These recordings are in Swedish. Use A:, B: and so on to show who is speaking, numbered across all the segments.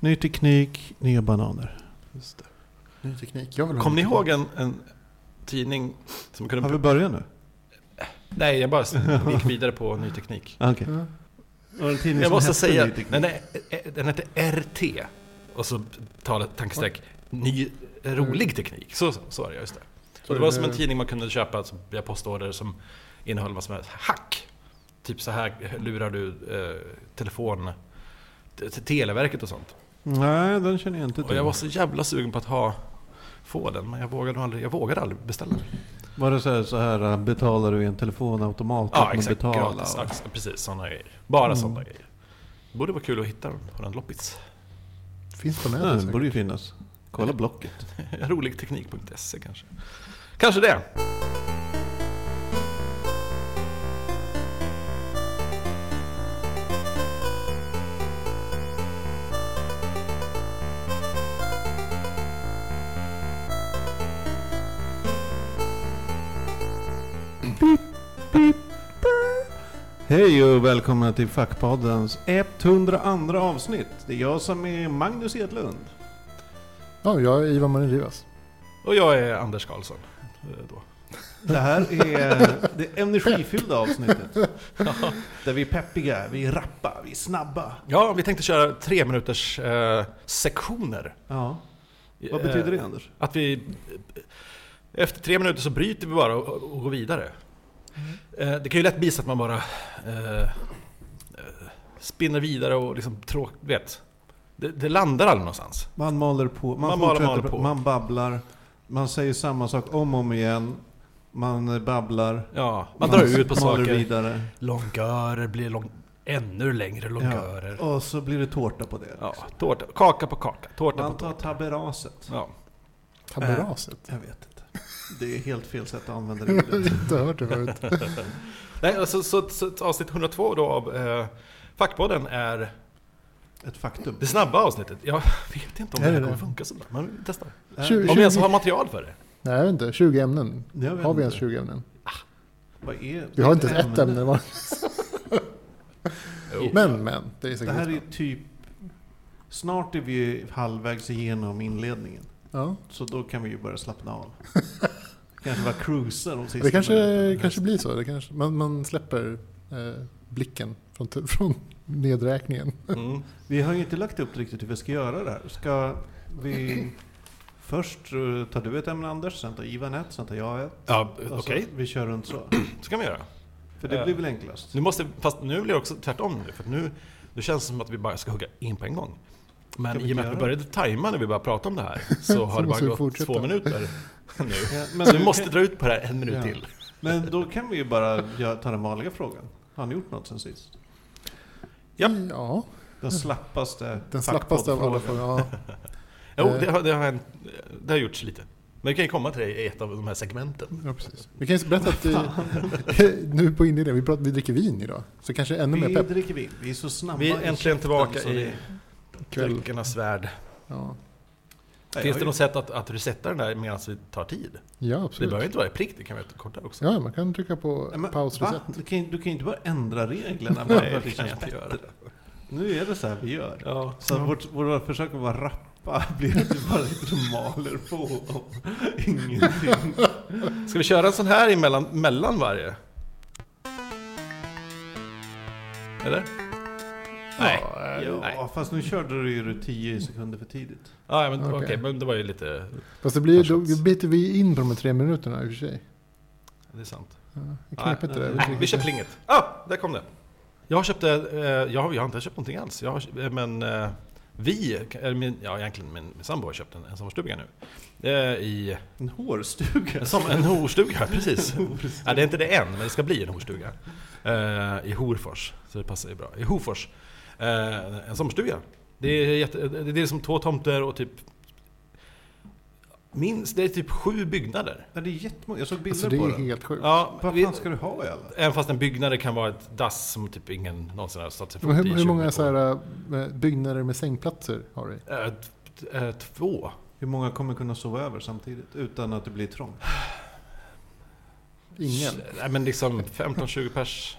A: Ny teknik, nya bananer.
B: Just det. Ny teknik. Jag vill ha
C: Kommer ni
B: ny teknik.
C: ihåg en, en tidning som kunde...
A: Har vi börjat nu?
C: Nej, jag bara gick vidare på ny teknik.
A: Ah, Okej.
B: Ja.
A: Var det en tidning
C: Jag
A: som
C: måste
A: hette
C: säga,
A: Ny Teknik?
C: den, är, eh, den hette RT. Och så talet, tankestreck, ny eh, rolig teknik. Så, så, så var det, just det.
B: Så
C: Och det var
B: det-
C: som en tidning man kunde köpa alltså, via postorder som innehöll vad som helst. Hack! Typ så här lurar du eh, telefon... t- till Televerket och sånt.
A: Nej, den känner jag inte
C: Och
A: till.
C: jag var så jävla sugen på att ha, få den, men jag vågade aldrig, jag vågade aldrig beställa den.
A: Var det så här, så här äh, betalar du i en telefonautomat?
C: Ja,
A: att man
C: exakt.
A: betalar?
C: Gratis. Ja, exakt. precis, sådana grejer. Bara
A: Mm.
C: sådana grejer. Borde vara kul att hitta dem på en loppis.
B: Finns på
A: Ja,
B: nätet
A: det
B: säkert.
A: Mm, borde ju finnas. Kolla Blocket.
C: Roligteknik.se E kanske. Kanske det.
A: Hej och välkomna till Fackpoddens 102 avsnitt. Det är jag som är Magnus Edlund.
B: Ja, jag är Ivan Marin Rivas.
C: Och jag är Anders Karlsson. eh, Då.
A: Det här är det energifyllda avsnittet. Där vi är peppiga, vi är rappa, vi är snabba.
C: Ja, vi tänkte köra tre minuters eh, sektioner.
A: Ja, vad betyder det
C: Eh,
A: Anders?
C: Att vi... eh, Efter tre minuter så bryter vi bara och, och går vidare.
A: Mm.
C: Eh, det kan ju lätt bli så att man bara eh, eh, spinner vidare och liksom tråk, vet. Det, det landar aldrig någonstans.
A: Man maler på, man,
C: Man maler,
A: fortsätter,
C: maler på.
A: man babblar, man säger samma sak om och om igen. Man eh, babblar.
C: Ja, man drar ut på
A: maler
C: saker.
A: vidare.
C: Longörer blir lång, ännu längre longörer. Ja.
A: Och så blir det tårta på det.
C: tårta, kaka på kaka, tårta
A: Man
C: på
A: tar
C: tårta.
A: taberaset.
C: Ja.
B: Taberaset.
A: Jag vet inte. Det är helt fel sätt att använda det
B: Jag har
A: ordet.
B: inte hört det förut.
C: Nej, alltså, så, så, så avsnitt 102 då av eh, Fackpodden är
A: Ett faktum.
C: det snabba avsnittet. Jag vet inte om
B: Är
C: det här
B: det
C: kommer
B: det?
C: funka så bra, men vi testar.
B: Tjugo-
C: Om vi ens har material för det.
B: Nej, jag vet inte. 20 ämnen.
A: Äh, Jag vet
B: Har vi ens
A: inte.
B: 20 ämnen?
A: Vad är
B: Vi har inte ens ett
A: ämne?
B: ämne var.
C: Jo.
B: Men, men. Det är
A: Det
B: säkert
A: här är
B: bra.
A: ju typ... Snart är vi ju halvvägs igenom inledningen.
B: Ja.
A: Så då kan vi ju börja slappna av. kanske bara cruisa de sista
B: Det kanske,
A: minuterna.
B: kanske blir så. Det kanske, man, man släpper eh, blicken från, från nedräkningen.
C: Mm.
A: Vi har ju inte lagt upp riktigt hur vi ska göra det här. Ska vi... Först eh, tar du ett ämne Anders, sen tar Ivan ett, sen tar jag ett.
C: Ja,
A: Och
C: Eh, okej.
A: så Vi kör runt så.
C: Så kan vi göra.
A: För det
C: Eh.
A: blir väl enklast?
C: Nu måste, fast nu blir det också tvärtom nu, för att nu, nu känns det som att vi bara ska hugga in på en gång.
A: Kan
C: Men
A: vi
C: i och med
A: göra
C: att vi
A: det?
C: började tajma när vi började prata om det här, så har det bara
B: måste vi
C: gått
B: fortsätta.
C: två minuter nu.
A: Ja,
C: Så
A: men,
C: vi
A: du
C: måste
A: kan,
C: dra ut på det här en minut
A: Ja.
C: till.
A: men då kan vi ju bara göra, ta den vanliga frågan. Har ni gjort något sen sist?
C: Ja.
B: ja.
A: Den slappaste
B: Den slappaste av alla frågor. Ja.
C: Jo,
B: Eh.
C: det har, det, har hänt, det har gjorts lite. Men vi kan ju komma till det i ett av de här segmenten.
B: Ja, precis. Vi kan ju berätta att vi, nu på inledningen, vi, pratar, vi dricker vin idag. Så kanske ännu mer
A: Vi
B: pepp
A: dricker vin. Vi är så snabba
C: Vi
A: i
C: är äntligen
A: käften
C: tillbaka
A: så
C: i
A: det-
B: kväll.
C: Dryckernas värld.
B: Ja,
A: jag
C: Finns
A: har
C: det
A: ju-
C: något sätt att, att resetta den där medan vi tar tid?
B: ja
C: Det
B: absolut.
C: behöver inte vara i prick, det kan vara kortare också.
B: Ja, man kan trycka på
A: Nej, men,
B: pausreset.
A: va? Du kan, ju- du kan ju inte bara ändra reglerna bara
C: Nej,
A: för att
C: det
A: det
C: kan jag
A: känns
C: inte
A: bättre.
C: göra.
A: Nu är det så här vi gör.
C: Ja.
A: Så vårt, våra försök att vara rappa blir att vi bara sitter och maler på om ingenting.
C: Ska vi köra en sån här emellan, mellan varje? Eller? Nej.
B: Ja, eh,
C: Jo.
A: Ja, fast nu körde du ju det 10 sekunder för tidigt.
C: Ah, ja, men okej,
B: Okej.
C: men det var ju lite...
B: Fast det blir, då
C: Varsågod.
B: biter vi in på de här tre minuterna i och för sig.
C: Det är sant.
B: Ja, det är
C: Nej,
B: knepigt det där.
C: Nej, vi kör plinget. Ah, där kom det. Jag köpte... Eh, jag, har- jag har inte köpt någonting alls. Jag har, eh, men eh, vi, eller min, ja egentligen min, min sambo har köpt en, en sommarstuga nu. Eh, I...
A: En hårstuga.
C: En, som, en horstuga, precis. Ja, det är inte det än, men det ska bli en horstuga. Eh, I Horfors, så det passar ju bra. I Hofors. Eh, en sommarstuga. Det är, jätte, det är liksom två tomter och typ... Minst, det är typ sju byggnader.
A: Nej, det är jättemånga. Jag såg bilder
B: Alltså det
A: på
B: är
A: det.
B: helt sjukt.
C: Ja,
A: Vad
C: vi,
A: fan ska du ha i alla?
C: även fast en byggnad kan vara ett dass som typ ingen någonsin har satt sig
B: Men
C: fot i.
B: hur, hur
C: 20
B: många
C: år.
B: så här, eh, byggnader med sängplatser har du?
C: Eh, t- eh, två.
A: Hur många kommer kunna sova över samtidigt utan att det blir trångt?
B: Ingen.
C: Nej men liksom 15-20 pers.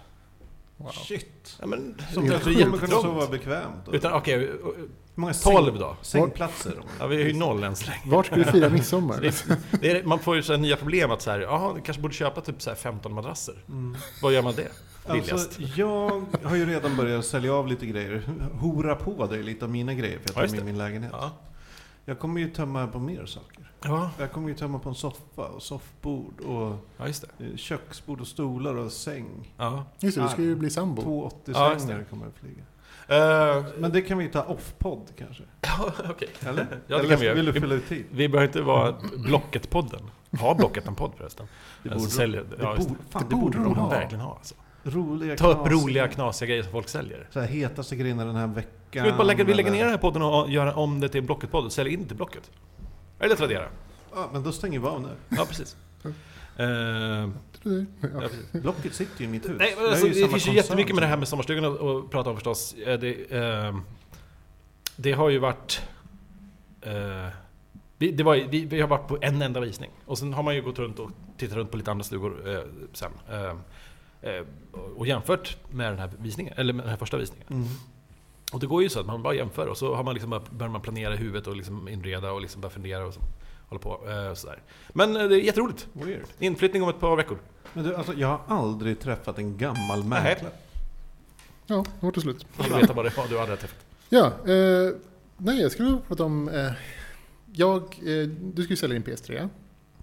B: Wow.
A: Shit!
C: Ja, men,
A: Som
C: det
A: det
C: låter
A: kommer kunna
C: jättetrångt.
A: sova bekvämt. Och-
C: Utan okej, och- och-
A: Hur många säng,
C: 12 då?
A: sängplatser? om-
C: Ja, vi är ju noll än så länge.
B: Vart ska vi fira midsommar?
C: Så det, det är, man får ju så här nya problem att så här, jaha, du kanske borde köpa typ så här 15 madrasser.
A: Mm.
C: Vad gör man det? Billigast.
A: Alltså, jag har ju redan börjat sälja av lite grejer. Hora på dig lite av mina grejer för
C: Ja,
A: jag
C: just
A: tar med min
C: det.
A: lägenhet.
C: Ja.
A: Jag kommer ju tömma på mer saker.
C: Ja,
A: Jag kommer ju tömma på en soffa och soffbord och
C: ja, just det.
A: eh, köksbord och stolar och säng.
C: Ja.
B: Just det, du ska ju bli sambo.
A: Två 80
C: Ja, just
A: sängar
C: det.
A: kommer jag flyga.
C: Eh,
A: Men det kan vi ta off-podd kanske?
C: ja, okej.
A: Eller?
C: Ja, det
A: Eller
C: kan vi göra.
A: vill du
C: Vi-
A: fylla ut tid?
C: Vi behöver inte vara Blocket-podden. Har Blocket en podd förresten?
A: Det
C: Alltså,
A: borde,
C: säljer-
A: det
C: ja, just
A: borde, fan,
B: Det
A: det borde de ha.
C: verkligen ha alltså.
A: Roliga
C: Ta upp
A: knas-
C: roliga, knasiga grejer som folk säljer.
A: Så här, hetaste grejerna den här veckan.
C: Ska vi bara lägga, vi lägger
A: eller-
C: ner den här podden och göra om det till en Blocket-podd och säljer in till Blocket? Eller Tradera.
A: Ja, men då stänger vi av nu.
C: Ja, precis. Eh, ja,
B: Ja.
C: precis.
A: Blocket sitter ju i mitt hus.
C: Nej, men
A: Jag är
C: alltså,
A: ju
C: det
A: samma
C: finns ju
A: koncern
C: jättemycket med det
A: som-
C: här med sommarstugan att- att prata om förstås. Eh, Det, ehm, det har ju varit... eh, vi, det var, ju- vi, vi har varit på en enda visning. Och sen har man ju gått runt och tittat runt på lite andra stugor eh, sen. Eh, eh, och- och jämfört med den här visningen, eller med den här första visningen.
A: Mm.
C: Och det går ju så att man bara jämför och så har man liksom bara, börjar man planera i huvudet och liksom inreda och liksom börja fundera och så, hålla på. Eh, sådär. Men eh, det är jätteroligt.
A: Weird.
C: Inflyttning om ett par veckor.
A: Men du, alltså, jag har aldrig träffat en gammal
C: Nej.
A: mäklare.
B: ja, hårt och slut.
C: Vill du veta vad det var du hade träffat?
B: Ja, eh, nej jag skulle prata om... Eh, jag, eh, du ska ju sälja din PS3.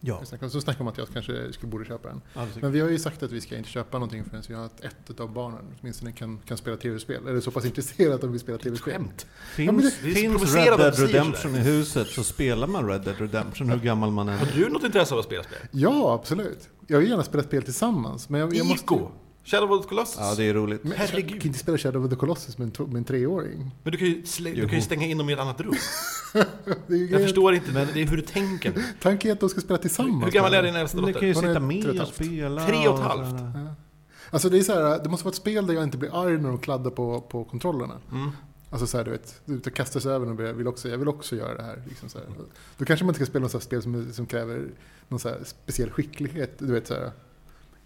A: Ja.
B: Jag snackade- Så snackade om att jag kanske skulle borde köpa den.
A: Aldrig.
B: Men vi har ju sagt att vi ska inte köpa någonting förrän vi har att ett av barnen åtminstone kan, kan spela tv-spel. Eller så pass intresserat att de vill spela tv-spel.
C: Skämt!
A: finns
B: Ja, men det-
C: det är så
A: finns
C: provocerande
A: Red
C: att
A: Dead
C: du säger
A: Redemption i huset så spelar man Red Dead Redemption hur gammal man än
C: Har
A: är.
C: du något intresse av att spela spel?
B: Ja, absolut. Jag vill gärna spela ett spel tillsammans. Men jag, jag måste...
C: Ico! Shadow of the Colossus?
A: Ja, det är roligt.
B: Men
C: Herregud.
B: Jag kan inte spela Shadow of the Colossus med en, to- med en treåring.
C: Men du kan, ju slä, du kan ju
A: Jo.
C: stänga in dem i ett annat rum.
B: Det är ju
C: Jag
B: grejen.
C: förstår inte, men det är hur du tänker. nu.
B: Tanken är att de ska spela tillsammans.
C: Hur gammal är din äldsta
A: Men det kan
C: dotter?
A: ju
B: Hon är
A: sitta
B: tre och ett
A: med och
B: halvt.
A: spela.
C: Tre och ett
A: sådär.
C: halvt.
B: Ja. Alltså det är så här, det måste vara ett spel där jag inte blir arg när de kladdar på, på kontrollerna.
C: Mm.
B: Alltså så här, du vet, du ute och kastar sig över och börjar, vill också, jag vill också göra det här. Liksom så här. Då kanske man inte ska spela något så här spel som, som kräver någon så här speciell skicklighet. Du vet, så här.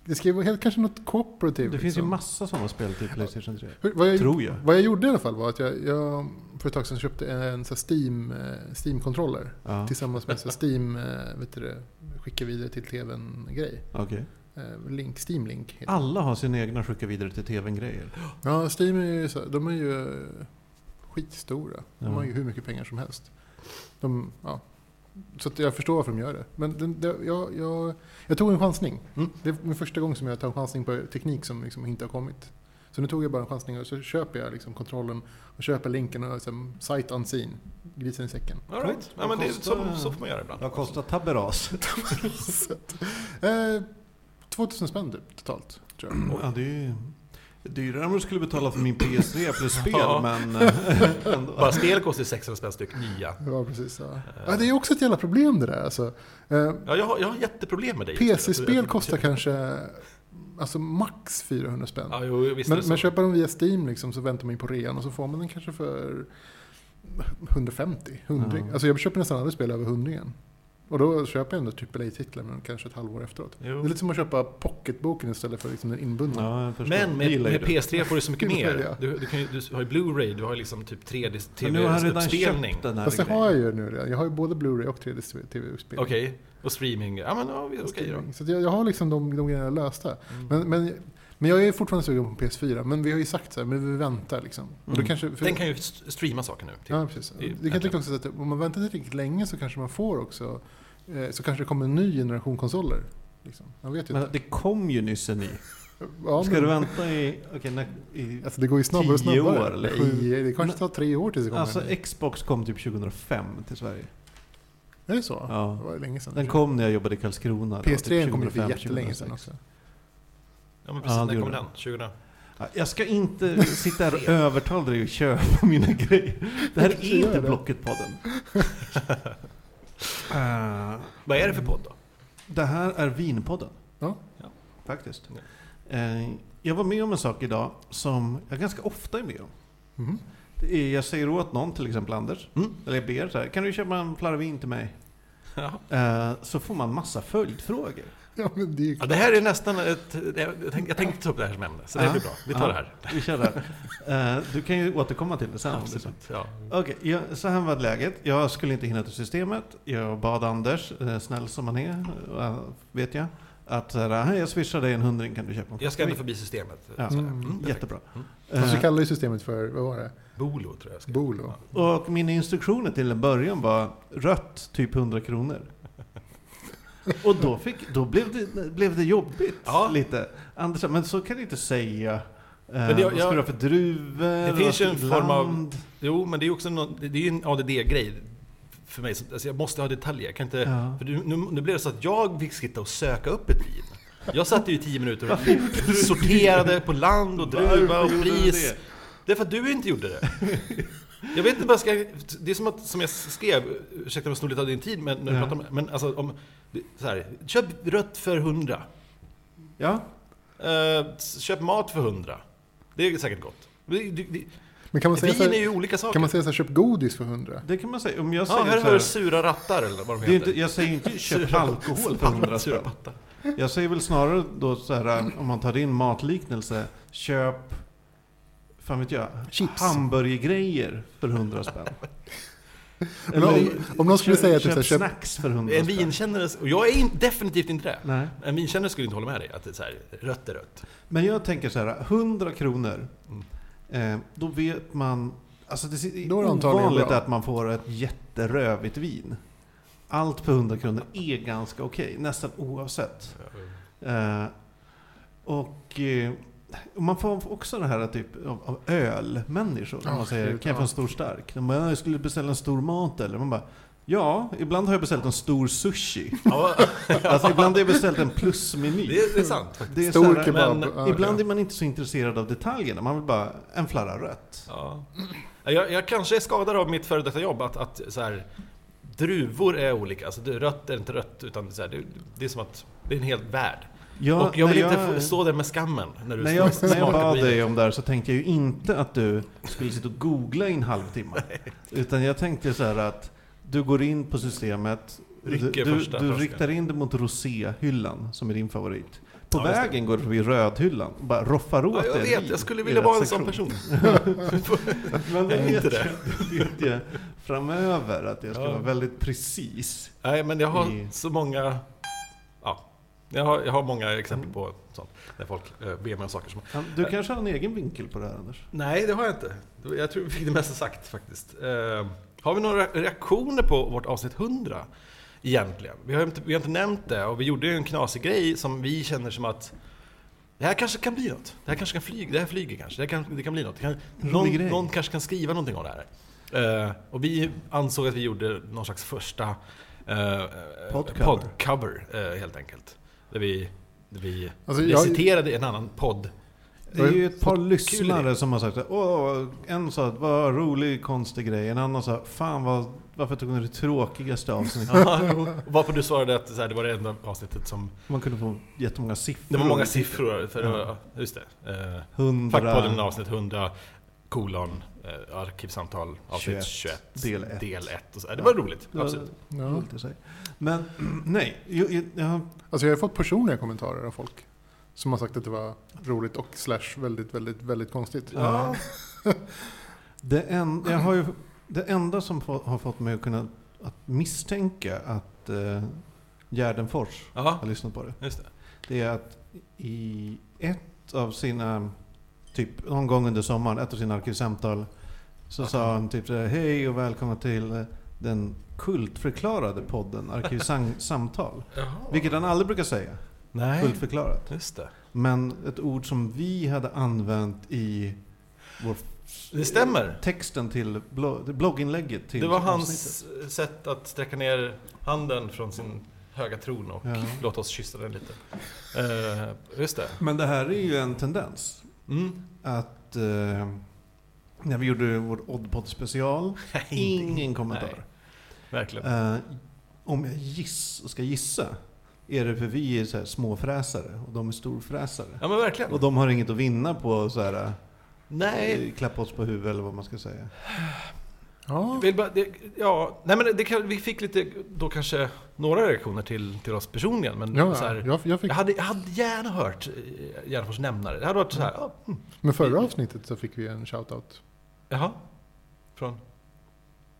B: Det ska ju vara helt, kanske något cooperative.
A: Det finns ju
B: liksom.
A: massa sådana spel till Playstation 3.
B: Hur- vad, jag,
A: Tror jag.
B: vad jag gjorde i alla fall var att jag, jag för ett tag sedan köpte en så här Steam, eh, Steam-kontroller
A: Ja,
B: tillsammans med så här Steam, eh, vet du det, skicka vidare till tvn-grej.
A: okej.
B: Eh, Link, Steam Link heter det.
A: Alla har sina egna skicka vidare till tvn-grejer.
B: Ja, Steam är ju, så, de är ju eh, skitstora. De
A: Ja.
B: har ju hur mycket pengar som helst. De, ja. Så att jag förstår varför de gör det. Men den, det, jag, jag, jag tog en chansning.
C: Mm.
B: Det är min första gång som jag tar en chansning på teknik som liksom inte har kommit. Så nu tog jag bara en chansning och så köper jag liksom kontrollen och köper länken och liksom, sight unseen. Grisen i säcken.
C: All right.
A: Coolt.
C: ja, men det är,
A: Kostar-
C: så, så får man göra ibland.
A: Vad kostar Taberas?
B: Så att, eh, 2000 spänn typ, totalt. Tror jag.
A: Ja, det är ju dyrare om du skulle betala för min PS3 plus spel,
C: Ja.
A: men eh, ändå.
C: Bara spel kostar ju 600 spänn styck, nya.
B: Ja, precis. Ja. Ja, det är också ett jävla problem det där. Alltså. Eh,
C: Ja, jag, har, jag har jätteproblem med dig.
B: PC-spel kostar kanske alltså max 400 spänn.
C: Ja, jo, visst är
B: men,
C: det så.
B: men köper de via Steam liksom, så väntar man ju på rean och så får man den kanske för 150, 100.
A: Ja.
B: Alltså jag köper nästan aldrig spel över 100 igen. Och då köper jag ändå typ AAA-titlar men kanske ett halvår efteråt. Det
C: Jo.
B: är lite som att köpa pocketboken istället för liksom den inbundna.
A: Ja, jag förstår.
C: Men
A: Det
C: med,
A: gillar ju
C: med
A: du.
C: PS3 får du så mycket
B: Det gillar
C: mer.
B: jag.
C: Du, du, kan ju, du har ju Blu-ray, du har ju liksom typ 3D-tv-spelning.
A: Men nu har han redan köpt den här
B: Fast det
A: grejen.
B: har jag ju nu redan. Jag har ju både Blu-ray och 3D-tv-spel.
C: Okej, och streaming. Ja, men ja, vi- okej då.
B: Så att jag, jag har liksom de, de grejerna lösta.
C: Mm.
B: Men, men, men jag är fortfarande sugen på PS4. Men vi har ju sagt så här, men vi väntar liksom. Och då
A: Mm.
B: kanske, för,
C: Den kan ju st- streama saker nu. Typ.
B: ja, precis.
C: det är ju
B: Det kan jag tycka också att om man väntar tillräckligt länge så kanske man får också, eh, så kanske det kommer en ny generation konsoler. Liksom. Man vet ju
A: Men
B: inte.
A: det kom ju nyss en ny.
B: Ja,
A: Ska
B: men-
A: du vänta i... Okej, när, i
B: Alltså det går ju snabbare och
A: tio år
B: snabbare.
A: eller sju?
B: Nej, det kanske tar tre år tills det kommer
A: alltså
B: en ny.
A: Xbox kom typ 2005 till Sverige.
B: Är det så?
A: Ja.
B: Det var ju länge sedan.
A: Den kom när jag jobbade i Karlskrona. Det var
B: PS3
A: typ
B: kom ju
A: 2005,
B: för jättelänge sedan
A: 2006.
B: också.
C: Ja, men precis.
A: Ja, det
C: när
A: gjorde
C: kommer den?
A: den.
C: 20...
A: Ja, Jag ska inte sitta här och övertala dig att köpa mina grejer. Det här
B: Jag
A: är
B: gör
A: inte
B: det.
A: Blocket-podden. Eh,
C: Vad är det för podd då?
A: Det här är Vinpodden.
B: Ja.
C: Ja.
A: Faktiskt. Eh, Jag var med om en sak idag som jag ganska ofta är med om. Mm-hmm.
B: Mhm.
A: Det är, jag säger åt någon, till exempel Anders,
C: Mm.
A: eller jag ber så här, kan du köpa en flarra vin till mig?
C: Ja.
A: Eh, Så får man massa följdfrågor.
B: Ja, men det är ju...
C: Ja, det här är nästan ett... Jag tänkte, jag tänkte ta upp det här som ämne, så det
A: Ja.
C: blir bra. Vi tar
A: Ja.
C: det här.
A: Vi kör där. Eh, du kan ju återkomma till det sen.
C: Ja,
A: om du vill.
C: precis. Ja.
A: Okej, ja, så här var läget. Jag skulle inte hinna till systemet. Jag bad Anders, eh, snäll som han är, eh, vet jag, att så här, "Hej, jag swishar dig en hundring kan du köpa en
C: Jag ska
A: flaska
C: ändå
A: vin."
C: förbi systemet.
A: Ja.
C: Så här.
B: Mm,
C: perfekt.
A: Jättebra.
C: Mm.
B: Fast du
A: Eh,
B: kallar ju systemet för, vad var det?
C: Bolo tror jag jag ska.
B: Bolo.
A: Och mina instruktioner till en början var rött, typ 100 kronor. Och då, fick, då blev, det, blev det jobbigt
C: Ja.
A: lite. Anders sa, men så kan du inte säga. Eh,
C: det-
A: vad ska
C: jag-
A: du ha för druvor?
C: Det
A: Vad
C: finns
A: ska-
C: ju en form av-
A: land?
C: Jo, men det är också någon, det det är ju en ADD-grej för mig. Så- Alltså, jag måste ha detaljer. Jag kan inte,
A: Ja.
C: för nu, nu, nu blev det så att jag fick sitta och söka upp ett vin. Jag satt ju i tio minuter och sorterade på land och druva och
A: Varför gjorde du
C: pris.
A: det?
C: Det är för att du inte gjorde det. Jag vet inte vad jag ska... Det är som att, som jag skrev, ursäkta om jag snor lite av din tid, men, när du
A: Ja.
C: pratar om, men alltså om... Så här, köp rött för 100.
A: Ja,
C: Eh, s- köp mat för 100. Det är säkert gott. Det, det, det,
B: Men kan man säga så
C: vin är
B: här,
C: ju olika saker.
B: kan man säga så här, köp godis för 100?
A: det kan man säga. Om jag
C: Ja,
A: säger
C: här
A: så
C: har du sura rattar eller vad de
A: Det är ju
C: heter.
A: inte, jag säger ju inte köp
C: Sura-
A: alkohol för 100
C: Sura
A: spänn.
C: patta.
A: Jag säger väl snarare då så här, om man tar in matliknelse, köp, fan vet jag,
B: Chips.
A: hamburgergrejer för 100 spänn.
B: Men om- om någon skulle
A: köp,
B: säga att du
A: köp,
B: så här, köp-
A: snacks för 100
C: En
A: spänn.
C: vinkännare, och jag är in, definitivt inte det.
A: Nej.
C: En vinkännare skulle inte hålla med dig att det är så här, rött är rött.
A: Men jag tänker så här, 100 kronor,
C: Mm.
A: eh, då vet man, alltså det är
B: Då är det antagligen
A: ovanligt
B: bra.
A: att man får ett jätterövigt vin. Allt för 100 kronor är ganska okej, nästan oavsett. Eh, och eh, och man får också det här typ av, av ölmänniskor. när
B: Ja,
A: man säger,
B: gud,
A: kan jag få
B: ja.
A: en stor stark? De bara, jag skulle beställa en stor mat eller? Man bara, ja, ibland har jag beställt en stor sushi.
C: Ja,
A: alltså ibland har jag beställt en plusmeny.
C: det är, det är sant. faktiskt.
A: Det är så
B: Stor
A: här,
B: kebab. Ah,
C: men
B: ja,
A: Ibland
B: ja.
A: är man inte så intresserad av detaljerna. Man vill bara, en flarra rött.
C: Ja. Jag, jag kanske är skadad av mitt före detta jobb att, att så här, druvor är olika. Alltså, det- rött är inte rött, utan så här, det, det är som att det är en hel värld.
A: Ja,
C: och jag
A: när
C: vill inte få stå där med skammen när du
A: När jag,
C: smakar
A: när jag
C: på
A: bad
C: vinet.
A: dig om det här så tänkte jag ju inte att du skulle sitta och googla i en halvtimme. Utan jag tänkte så här att du går in på systemet, du,
C: Rycker
A: du,
C: första
A: du
C: flaskan.
A: riktar in dig mot roséhyllan som är din favorit. På
C: Ja, just det.
A: vägen går du förbi rödhyllan och bara roffar åt
C: Ja, jag
A: dig en
C: vet,
A: vin
C: jag skulle
A: i
C: vilja
A: rätt
C: vara en
A: sektion.
C: sån person.
A: Men det
C: Jag är
A: vet
C: inte
A: jag, det vet jag framöver att jag ska
C: Ja.
A: vara väldigt precis.
C: Nej, men jag har
A: I-
C: så många... Ja, jag har, jag har många exempel på sånt. När folk eh, ber mig om saker som...
A: Du kanske har en egen vinkel på det här Anders?
C: Nej, det har jag inte. Jag tror vi fick det mesta sagt faktiskt. Eh, har vi några reaktioner på vårt avsnitt 100? Egentligen. Vi har, inte, vi har inte nämnt det och vi gjorde ju en knasig grej som vi känner som att det här kanske kan bli något. Det här kanske kan flyga. Det här flyger kanske. Det, här kan, det kan bli något. Det kan,
A: Rolig
C: någon,
A: grej.
C: någon kanske kan skriva någonting om det här. Eh, och vi ansåg att vi gjorde någon slags första eh,
A: Podcover.
C: podcover, eh, helt enkelt. Där vi, där vi
B: Alltså, jag-
C: reciterade en annan podd.
A: Det är ju ett par
C: kul
A: lyssnare som har sagt att, Åh, en sa att vad rolig konstig grej, en annan sa fan vad, varför tog ni det tråkigaste avsnittet?
C: Varpå du svarade att så här, det var det enda avsnittet som...
A: Man kunde få jättemånga siffror.
C: Det var många siffror, för det var,
A: Ja.
C: just det. Eh, Fackpodden
A: Hundra
C: avsnitt 100, kolon, eh, arkivsamtal, avsnitt
A: 21,
C: 21,
A: del ett.
C: del 1. Och så. här. Det
A: Ja.
C: var roligt,
A: Det var-
C: absolut.
B: Ja.
A: i sig. Men nej, jag, jag, jag,
B: Alltså jag har fått personliga kommentarer av folk. Som har sagt att det var roligt och slash väldigt, väldigt, väldigt konstigt.
A: Ja. det, en, jag har ju, det enda som få, har fått mig att kunna att misstänka att eh, Gärdenfors
C: Ja,
A: har lyssnat på det,
C: just det.
A: det är att i ett av sina, typ någon gång under sommaren, ett av sina arkivsamtal så sa han typ så här, hej och välkomna till eh, den kultförklarade podden Arkivsamtal. Vilket han aldrig brukar säga,
C: Nej,
A: kultförklarat.
C: just det.
A: Men ett ord som vi hade använt i vår
C: Det stämmer.
A: texten till blogg, blogginlägget. Till
C: Det var hans eh,
A: avsnittet.
C: sätt att sträcka ner handen från sin höga tron och
A: Ja.
C: låta oss kyssa den lite. Eh, just det.
A: Men det här är ju en tendens.
C: Mm.
A: Att eh, när vi gjorde vår Oddpod special,
C: Nej, inte-
A: ingen kommentar.
C: Verkligen.
A: Eh, om jag giss, ska gissa, är det för vi är så här småfräsare och de är storfräsare.
C: Ja men verkligen.
A: Och de har inget att vinna på att så här,
C: Nej,
A: eh, klappa oss på huvudet eller vad man ska säga.
B: Ja.
C: Vill bara, det, ja, nej men det, kan- vi fick lite, då kanske några reaktioner till, till oss personligen.
A: Mm,
C: Men
B: Ja,
C: så här,
B: jag, jag fick,
C: jag, hade, jag hade gärna hört eh, Gärdenfors nämna det. Det hade varit så här, ja, mm,
B: men förra avsnittet så fick vi en shoutout
C: jaha. Från?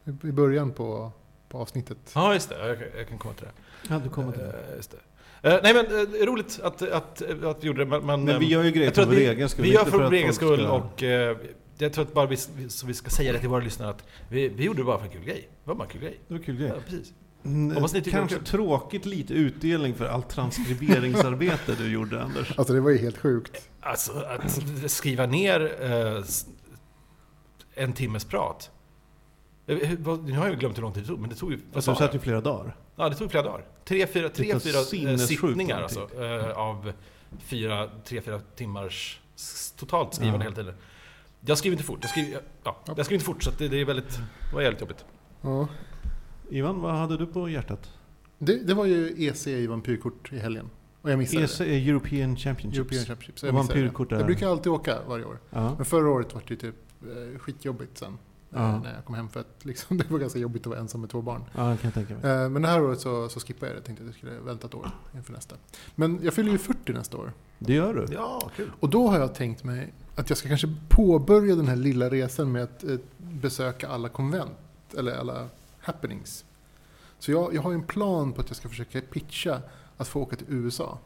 B: i- i början på, på avsnittet.
C: Ja, just det. Jag, jag kan komma till det.
A: Ja, du kommer till det.
C: Eh, just det. Eh, nej men eh, det är roligt att, att, att vi gjorde det. Men, men,
A: Men vi
C: ehm,
A: gör ju grejer
C: jag tror
A: för
C: att
A: vår egen skull.
C: Vi gör
A: inte
C: för
A: att
C: vår egen
A: folk
C: skull
A: ska-
C: och eh, jag tror att bara vi, vi- så vi ska säga det till våra lyssnare att vi, vi gjorde det bara för en kul grej. Det var bara en kul grej.
A: Det var en kul
C: Ja,
A: grej.
C: precis.
A: Mm,
C: Hoppas ni tycker det var
A: Kanske tråkigt lite utdelning för allt transkriberingsarbete du gjorde, Anders.
B: Alltså det var ju helt sjukt.
C: Alltså att skriva ner eh, s- en timmes prat. Eh, hur- vad- Nu har jag ju glömt hur lång tid det tog, men det tog ju... vad
A: Alltså,
C: sa
A: du satt ju
C: jag?
A: flera dagar.
C: Ja, det tog flera dagar. Tre, fyra,
A: Det
C: tre,
A: var
C: fyra eh,
A: sinnessjukt
C: sittningar
A: lång
C: alltså, eh, av fyra, tre, fyra timmars s- totalt skrivande
A: Ja.
C: hela tiden. Jag skriver inte fort, jag skriver, ja, jag skriver inte fort så att det, det är väldigt, det var jävligt jobbigt.
B: Ja.
A: Ivan, vad hade du på hjärtat?
B: Det, det var ju EC i vampyrkort i helgen. Och jag missade
A: EC är European Championships.
B: det. European Championship. Så
A: Och
B: jag, missade
A: E vampyrkort
B: det.
A: är-
B: jag brukar alltid åka varje år.
A: Ja.
B: Men förra året var det ju typ eh, skitjobbigt sen. eh,
A: Ja.
B: När jag kom hem för att liksom, det var ganska jobbigt att vara ensam med två barn.
A: ja, det kan jag tänka mig.
B: Eh, Men det här året så, så skippade jag det. Tänkte att jag skulle vänta ett år inför nästa. Men jag fyller ju 40 nästa år.
A: Det gör du.
C: Ja, kul.
B: Och då har jag tänkt mig att jag ska kanske påbörja den här lilla resan med att eh, besöka alla konvent, eller alla happenings. Så jag, jag har ju en plan på att jag ska försöka pitcha att få åka till USA.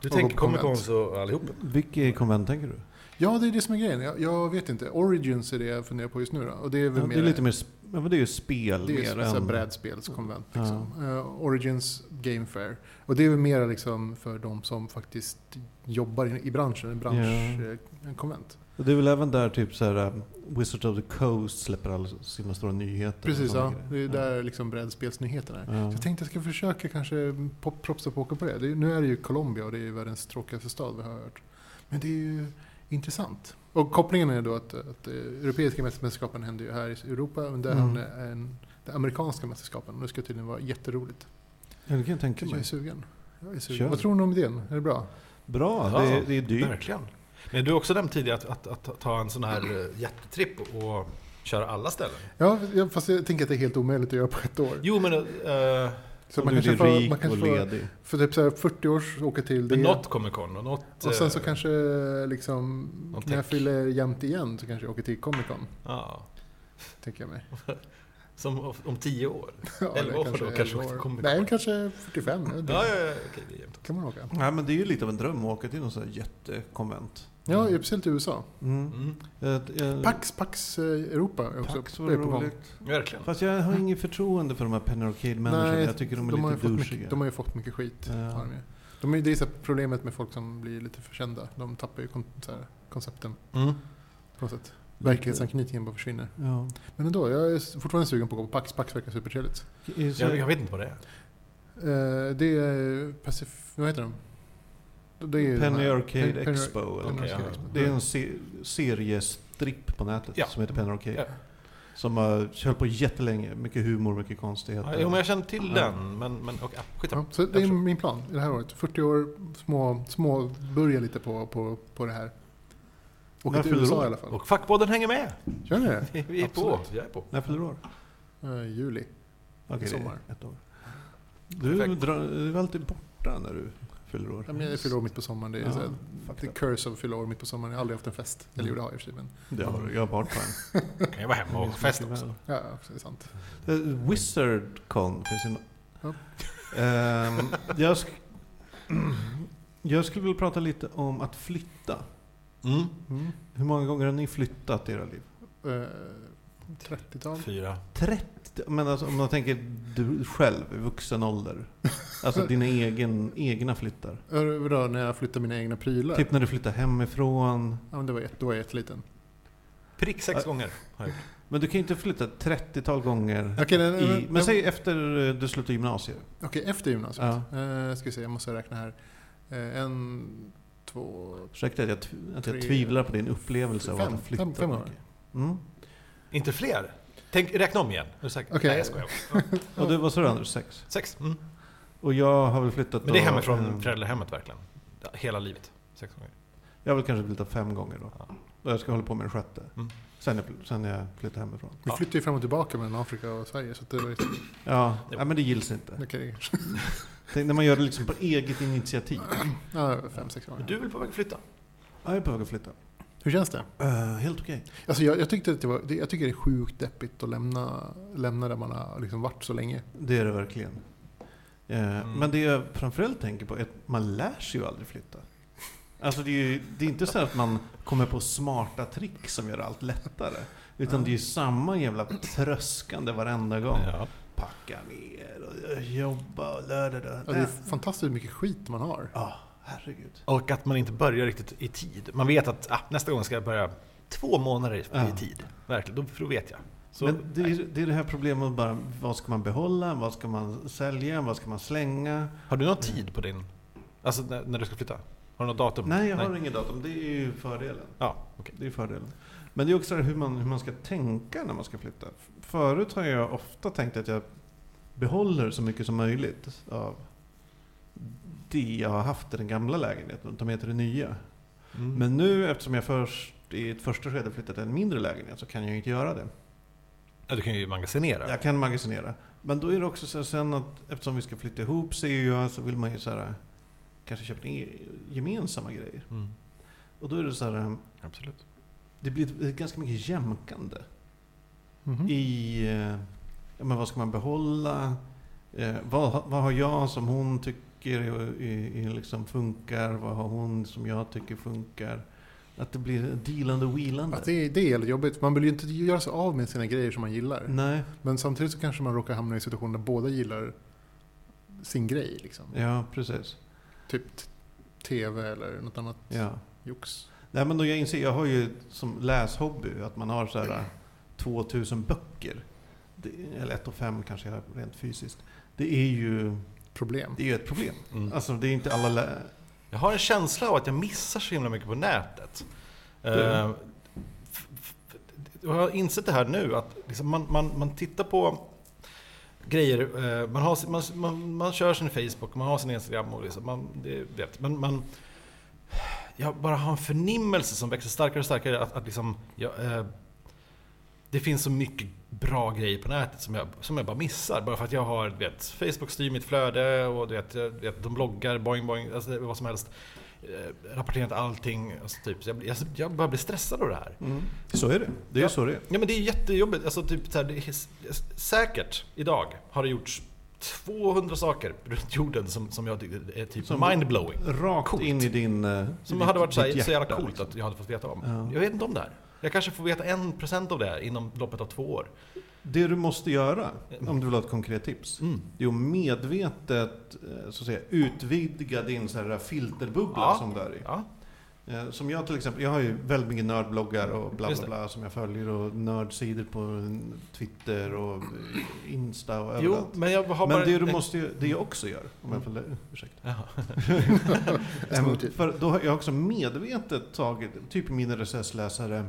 C: Du
B: Och gå
C: tänker
B: på
C: Comic Con
B: konvent.
C: så allihop?
A: Vilket konvent tänker du?
B: Ja, det är det som är grejen. Jag, jag vet inte. Origins är det jag funderar på just nu då. Och det är väl
A: Ja,
B: mer...
A: det är lite mer sp- ja, men det är ju spel
B: Det är
A: mer
B: ju ett
A: än...
B: brädspelskonvent. Liksom. Eh, Origins Game Fair. Och det är väl mer liksom för de som faktiskt jobbar i, i branschen, en
A: Ja.
B: branschkonvent.
A: Och Det är väl även där typ så här, um, Wizards of the Coast släpper alla sina stora nyheter. och
B: Precis,
A: sådana
B: ja.
A: grejer.
B: Det är där liksom brädspelsnyheterna är.
A: Ja. Ja.
B: Så jag tänkte att jag ska försöka kanske pop- propsa på att åka på det. det är, nu är det ju Colombia och det är ju världens tråkigaste stad vi har hört. Men det är ju intressant. Och kopplingen är då att, att eh, europeiska mästerskapen händer ju här i Europa, men där
A: Mm.
B: mm. en, det amerikanska mästerskapen. Och det ska tydligen vara jätteroligt.
A: Ja, det kan jag tänka
B: Jag är
A: mig.
B: sugen. Jag är
A: Kör.
B: sugen. Vad tror ni om idén? Är det bra?
A: Bra,
C: Ja,
A: det, är- det är dyrt.
C: Verkligen. Men du har också nämnt tidigare att, att, att ta en sån här eh, jättetripp och köra alla ställen.
B: Ja, jag- fast jag tänker att det är helt omöjligt att göra på ett år.
C: Jo, men eh,
B: Så
A: Om
B: man
A: du
B: kanske
A: är
B: får,
A: rik
B: man
A: och
B: kanske får,
A: ledig.
B: för typ så här 40 års åka till det.
C: men något Comic Con och något...
B: och sen så
C: eh,
B: kanske liksom,
C: Någon
B: när jag
C: tech.
B: fyller jämnt igen så kanske jag åker till Comic Con,
C: Ja,
B: tänker jag mig.
C: som om- om tio år.
B: Ja,
C: Elva
B: eller
C: år då, kanske
B: elva
C: åka till
B: år.
C: Comic Con.
B: Nej, kanske 45. jag vet inte.
C: Ja, ja, ja, okej, det är jämnt.
B: kan man åka.
A: Ja, men det är ju lite av en dröm att åka till någon sån här jättekonvent.
B: Ja, speciellt i USA.
A: Mm.
C: Mm,
A: Eh, eh,
B: Pax, Pax eh, Europa är också
A: Pax var
B: är på gång.
A: roligt.
C: verkligen.
A: Fast jag har inget förtroende för de här Penny Arcade-människorna.
B: Nej,
A: Jag tycker de är
B: har ju
A: lite
B: fått
A: douchiga.
B: mycket, de har ju fått mycket skit.
A: Ja.
B: Har de ju. De är, det är så här problemet med folk som blir lite förkända. De tappar ju kon, så här, koncepten
C: Mm.
B: på något sätt. Verklighetsanknytningen bara försvinner.
A: Ja.
B: Men ändå, jag är s- fortfarande sugen på att gå på Pax. Pax verkar supertrevligt.
A: I- så-
C: Jag, jag vet inte vad det är.
B: Eh, det är Pacif... Vad heter de? Det är ju de
A: Penny
B: här-
A: Arcade
B: Penny-
A: Expo. Eller något
B: Penny
C: Arcade
A: sånt.
B: Expo.
A: Det är en se seriestripp på nätet
C: Ja.
A: som heter Penny Arcade.
C: Ja.
A: Som har höll på jättelänge. Mycket humor, mycket
C: Ja,
A: konstigheter.
C: jo, men jag känner till
A: Ja.
C: den, men, men okej, ja, skitsamma.
B: Ja, så det är min plan i det här året. 40 år, små, små börja lite på, på, på det här.
A: När
B: Åka till
A: fyller
B: USA
A: du?
B: i alla fall.
C: Och fackpodden hänger med!
B: Kör ni det?
C: Vi är på.
B: Absolut.
C: Jag är på.
A: När fyller du år?
B: Eh, juli.
A: Okej,
B: Sommar.
A: det är ett år. Du,
C: Perfekt.
A: drar, du är alltid borta när du fyller år.
B: Ja, men Jag fyller år mitt på sommaren. Det är
A: Ja,
B: så här,
A: fuck
B: the
A: that.
B: curse av att fylla år mitt på sommaren. Jag har aldrig haft en fest. Eller
A: Mm.
B: jo, det har jag i och för sig. Men,
A: Det har du, jag har barnvagn.
C: Kan jag vara hemma och festa också.
B: ja, ja, det är sant.
A: Eh, Wizardcon finns ju no-
B: Ja.
A: Ehm, jag, sk- jag skulle vilja prata lite om att flytta.
C: Mm.
B: Mm.
A: Hur många gånger har ni flyttat i era liv?
B: Eh, 30-tal.
C: Fyra.
A: 30? Men alltså, om man tänker du själv i vuxen ålder. Alltså dina egen, egna flyttar.
B: Eh, Vadå, när jag flyttade mina egna prylar?
A: Typ när du flyttar hemifrån.
B: Ja, men det var, jätte- då var jag jätteliten.
C: Prick sex
A: Ja.
C: gånger.
A: Men du kan ju inte flytta 30-tal gånger.
B: Okej, nej, nej,
A: i,
B: nej.
A: men säg efter eh, du slutar gymnasiet.
B: Okej, efter gymnasiet.
A: Ja.
B: Eh, ska vi se, jag måste räkna här. Eh, en, två,
A: Ursäkta att jag, tv- att jag
B: Tre-
A: tvivlar på din upplevelse av
B: fem-
A: att flytta.
B: fem- fem
A: mycket.
B: år.
A: Mm.
C: Inte fler? Tänk, räkna om igen. Är du säker?
B: Okej.
C: Nej, jag skojar.
A: Och det var så Anders, sex.
C: Sex. Mm.
A: Och jag har väl flyttat
C: Men det är
A: då,
C: hemifrån
B: eh,
A: ehm,
C: föräldrahemmet verkligen. Ja, Hela livet. Sex gånger.
A: Jag har väl kanske flyttat fem gånger då.
C: Ja.
A: Och jag ska hålla på med den sjätte.
C: Mm.
A: Sen, jag, sen jag flyttar hemifrån.
B: Vi flyttar ju fram och tillbaka mellan Afrika och Sverige. Så att det var ju...
A: Ja,
C: Jo.
A: nej, men det gills inte.
B: Okej.
A: Tänk när man gör det liksom på eget initiativ.
B: Ja, fem, sex år.
C: Men du är väl på väg att flytta?
A: Ja, jag är på väg att flytta.
B: Hur känns det?
A: Eh, helt okej.
B: Alltså jag, jag, tyckte att det var, det- jag tycker det är sjukt deppigt att lämna, lämna där man har liksom varit så länge.
A: Det är det verkligen. Eh,
C: Mm.
A: Men det jag framförallt tänker på är att man lär sig ju aldrig flytta. Alltså det är ju det är inte så att man kommer på smarta trick som gör allt lättare. Utan det är ju samma jävla tröskande varenda gång. Packa ner och eh, jobba och lär dig det.
B: Ja, det är fantastiskt mycket skit man har.
A: Ja, herregud.
C: Och att man inte börjar riktigt i tid. Man vet att ah, nästa gång ska jag börja två månader i
A: Ja.
C: tid. Verkligen, då, för då vet jag. Så,
A: Men det
C: nej.
A: är, det är det här problemet med bara, vad ska man behålla, vad ska man sälja, vad ska man slänga?
C: Har du någon tid på din... Alltså när, när du ska flytta? Har du något datum?
A: Nej, jag har inget datum. Det är ju fördelen.
C: Ja, okej.
A: Det är fördelen. Men det är också det här hur man, hur man ska tänka när man ska flytta. F- Förut har jag ofta tänkt att jag behåller så mycket som möjligt av det jag har haft i den gamla lägenheten och tar med till det nya.
C: Mm.
A: Men nu eftersom jag först i ett första skede flyttat till en mindre lägenhet så kan jag ju inte göra det.
C: ja, du kan ju magasinera.
A: Jag kan magasinera. Men då är det också så här sen att eftersom vi ska flytta ihop sig och jag, så vill man ju så här, kanske köpa e- gemensamma grejer.
C: Mm.
A: Och då är det så här,
C: Absolut.
A: det blir ett- ett ganska mycket jämkande.
B: Mhm.
A: i eh, ja, men vad ska man behålla? Eh, vad, ha- vad har jag som hon tycker är, är, är liksom funkar? Vad har hon som jag tycker funkar? Att det blir dealande och wheelande.
B: Att det, är- det är jävligt jobbigt. Man vill ju inte göra sig av med sina grejer som man gillar.
A: Nej,
B: Men samtidigt så kanske man råkar hamna i situationer där båda gillar sin grej. Liksom.
A: ja precis.
B: Typ t- tv eller något annat
A: Ja.
B: jox.
A: Nej, men då jag inser, jag har ju som läshobby att man har så här eh, 2000 böcker. Det, eller ett och fem kanske jag har rent fysiskt. Det är ju,
B: Problem.
A: det är ju ett problem.
C: Mm.
A: Alltså det är inte alla lä-
C: Jag har en känsla av att jag missar så himla mycket på nätet.
A: Mm.
C: Eh, f- f- Jag har insett det här nu, att liksom man, man, man tittar på grejer, eh, man, har, sin- man, man, man kör sin Facebook, man har sin Instagram och liksom, man, det vet, men man, jag bara har en förnimmelse som växer starkare och starkare att, att liksom, jag, eh, det finns så mycket bra grejer på nätet som jag, som jag bara missar. Bara för att jag har, du vet, Facebook styr mitt flöde och du vet, jag- du vet, de bloggar, boing boing, alltså, det- vad som helst. Eh, rapporterat allting. Alltså, typ. Så jag, blir- jag, jag börjar bli stressad av det här.
A: mm. Så är det. Det är
C: Ja.
A: så det är.
C: Ja men det är jättejobbigt. Alltså, typ, så här, det är, s- säkert idag har det gjorts 200 saker runt jorden som, som jag tycker är typ
A: Som-
C: mindblowing.
A: Rakt
C: Coolt.
A: in i din... eh,
C: Som
A: ditt-
C: hade varit så, här,
A: ditt
C: så jävla
A: hjärta,
C: coolt
A: liksom.
C: att jag hade fått veta om.
A: Ja.
C: Jag vet inte om det här. Jag kanske får veta en procent av det här inom loppet av två år.
A: Det du måste göra, om du vill ha ett konkret tips,
C: Mm.
A: det är att medvetet eh, så att säga, utvidga din så här eh, filterbubbla
C: Ja.
A: som du är i.
C: Ja.
A: Eh, Som jag till exempel, jag har ju väldigt mycket nördbloggar och bla
C: Just
A: bla
C: det.
A: bla som jag följer och nördsidor på mm, Twitter och eh, Insta och
C: Jo,
A: överallt.
C: men jag har bara...
A: Men det du
C: en-
A: måste ju, det jag också gör, om jag
C: Mm.
A: får lä- ursäkta.
C: Jaha.
A: Nej, men
B: Smoothie.
A: Ehm, För då har jag också medvetet tagit, typ min RSS-läsare,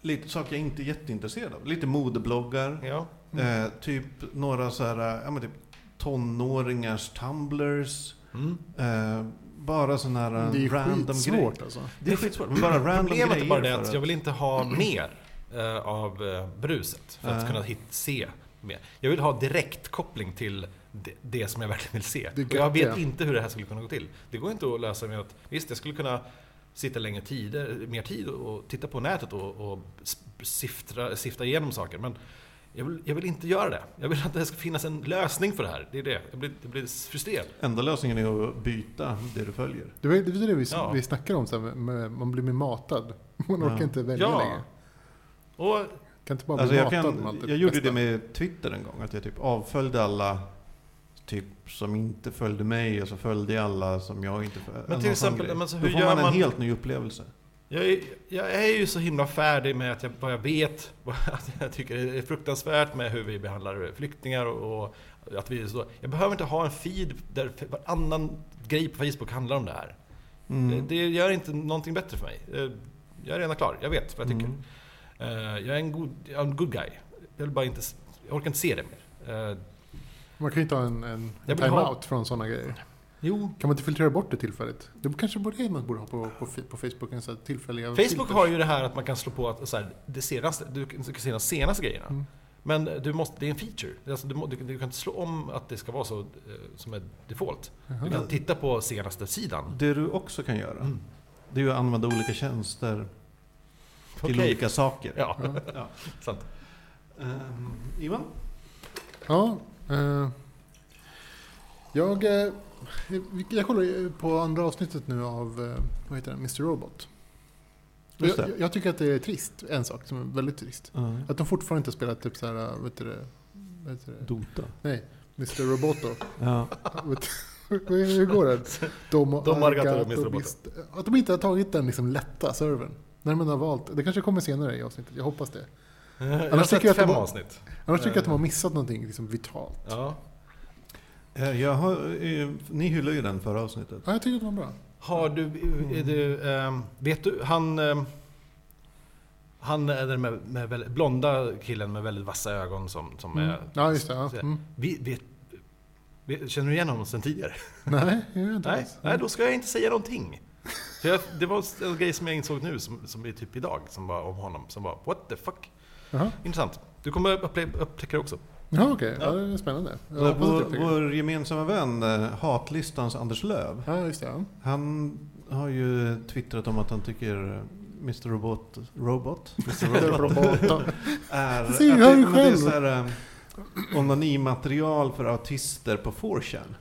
A: lite saker jag inte är jätteintresserad av. Lite modebloggar,
C: Ja. Mm.
A: eh, typ några så här, ja men typ tonåringars tumblers.
C: Mm.
A: Eh, bara sådana här eh,
B: Det är ju
A: random grejer.
B: skitsvårt alltså.
A: Det är skitsvårt. Men bara random
C: Problemet
A: grejer.
C: är bara det
A: för
C: att jag vill inte ha mer eh, av eh, bruset för att
A: Nej.
C: kunna hit, se mer. Jag vill ha direktkoppling till det, det som jag verkligen vill se.
B: Det är
C: Och jag
B: gött,
C: vet
B: ja.
C: inte hur det här skulle kunna gå till. Det går inte att lösa med att, visst jag skulle kunna sitta längre tider, mer tid och och titta på nätet och, och s- siftra, sifta igenom saker. Men jag vill, jag vill inte göra det. Jag vill att det ska finnas en lösning för det här. Det är det. Jag blir, jag blir frustrerad.
A: Enda lösningen är att byta det du följer.
B: Det var det, var det vi,
C: Ja.
B: vi snackade om, så här, med- med, man blir mer matad. Man
A: Ja.
B: orkar inte välja
C: Ja.
B: längre.
C: Och
B: Kan inte bara
A: Alltså
B: bli
A: jag,
B: matad
A: kan,
B: med allt
A: jag gjorde
B: bästa.
A: det med Twitter en gång, att jag typ avföljde alla typ som inte följde mig och så följde jag alla som jag inte följde.
C: Men
A: En
C: till
A: sån
C: exempel,
A: grej.
C: men så
A: Då
C: hur
A: får
C: gör
A: man en
C: man-
A: helt ny upplevelse.
C: Jag är, jag är ju så himla färdig med att jag, vad jag vet, vad jag tycker är fruktansvärt med hur vi behandlar flyktingar och, och att vi är så. Jag behöver inte ha en feed där varannan grej på Facebook handlar om det här.
A: Mm.
C: Det, det gör inte någonting bättre för mig. Eh, Jag är redan klar, jag vet vad jag tycker.
A: Mm.
C: Eh, Jag är en god, jag är en good guy. Jag vill bara inte, s- jag orkar inte se det mer. Eh,
B: Man kan ju inte ha en, en
C: Jag vill
B: timeout
C: ha-
B: från sådana grejer.
C: Jo,
B: Kan man inte filtrera bort det tillfälligt? Det kanske borde man borde ha på, på, fi- på Facebook. En sån här tillfälliga
C: Facebook har ju det här att man kan slå på att, så här, det senaste, du kan du kan se de senaste grejerna.
B: Mm.
C: Men du måste, det är en feature. Det är Alltså, du, må- du, du kan inte slå om att det ska vara så eh, som är default. Du
B: Jaha.
C: kan titta på senaste sidan.
A: Det du också kan göra,
C: Mm.
A: det är ju att använda olika tjänster till
C: Okej.
A: olika saker.
C: Ja,
B: Ja.
C: sant.
A: Ehm, Ivan?
B: Ja, eh, jag, eh, vi- jag kollar ju på andra avsnittet nu av eh, vad heter den? Mr. Robot. Och
A: Just
B: Jag,
A: det.
B: jag tycker att det är trist, en sak som är väldigt trist.
A: Ja.
B: Att de fortfarande inte har spelat typ så här, vad heter det? Vad heter det?
A: Dota.
B: Nej, Mr. Roboto.
A: Ja.
B: Vet- Hur går det? De och
C: De och Arigato,
B: Arigato,
C: Mr. Roboto.
B: visst- Att de inte har tagit den liksom lätta servern. När man har valt. Det kanske kommer senare i avsnittet, jag hoppas det.
C: Jag har
B: tycker jag
C: sett
B: att det
C: fem
B: var-
C: avsnitt.
B: Annars tycker jag att de har missat någonting liksom vitalt. Ja.
C: Ja.
A: Eh, Jag har, eh, ni hyllade ju den förra avsnittet.
B: jag tycker att de var bra.
C: Har du, är du ehm, vet du, han, ehm, han är den med, med väldigt, blonda killen med väldigt vassa ögon som, som
B: Mm.
C: är...
B: Ja, just det. Ja. Mm.
C: Vi, vet, vet, känner du igen honom sen tidigare?
B: Nej, jag vet inte
C: Nej,
B: alls.
C: nej, då ska jag inte säga någonting. För jag, det var en grej som jag insåg nu, som, som är typ idag, som var om honom, som var what the fuck.
B: Jaha.
C: Intressant. Du kommer upple- upptäcka det också.
B: Ja, okej. Ja,
C: Ja.
B: det är spännande. Jag
A: Vår,
B: hoppas att jag
A: vår,
B: tycker det.
A: vår gemensamma vän, eh, hatlistans Anders Löv,
B: Ja, just det. Ja.
A: han har ju twittrat om att han tycker eh, Mr. Robot, Robot, Mr.
B: Roboto.
A: är,
B: Det säger
A: att
B: han ju
A: men det är
B: själv.
A: så här, eh, onanimaterial för autister på 4chan.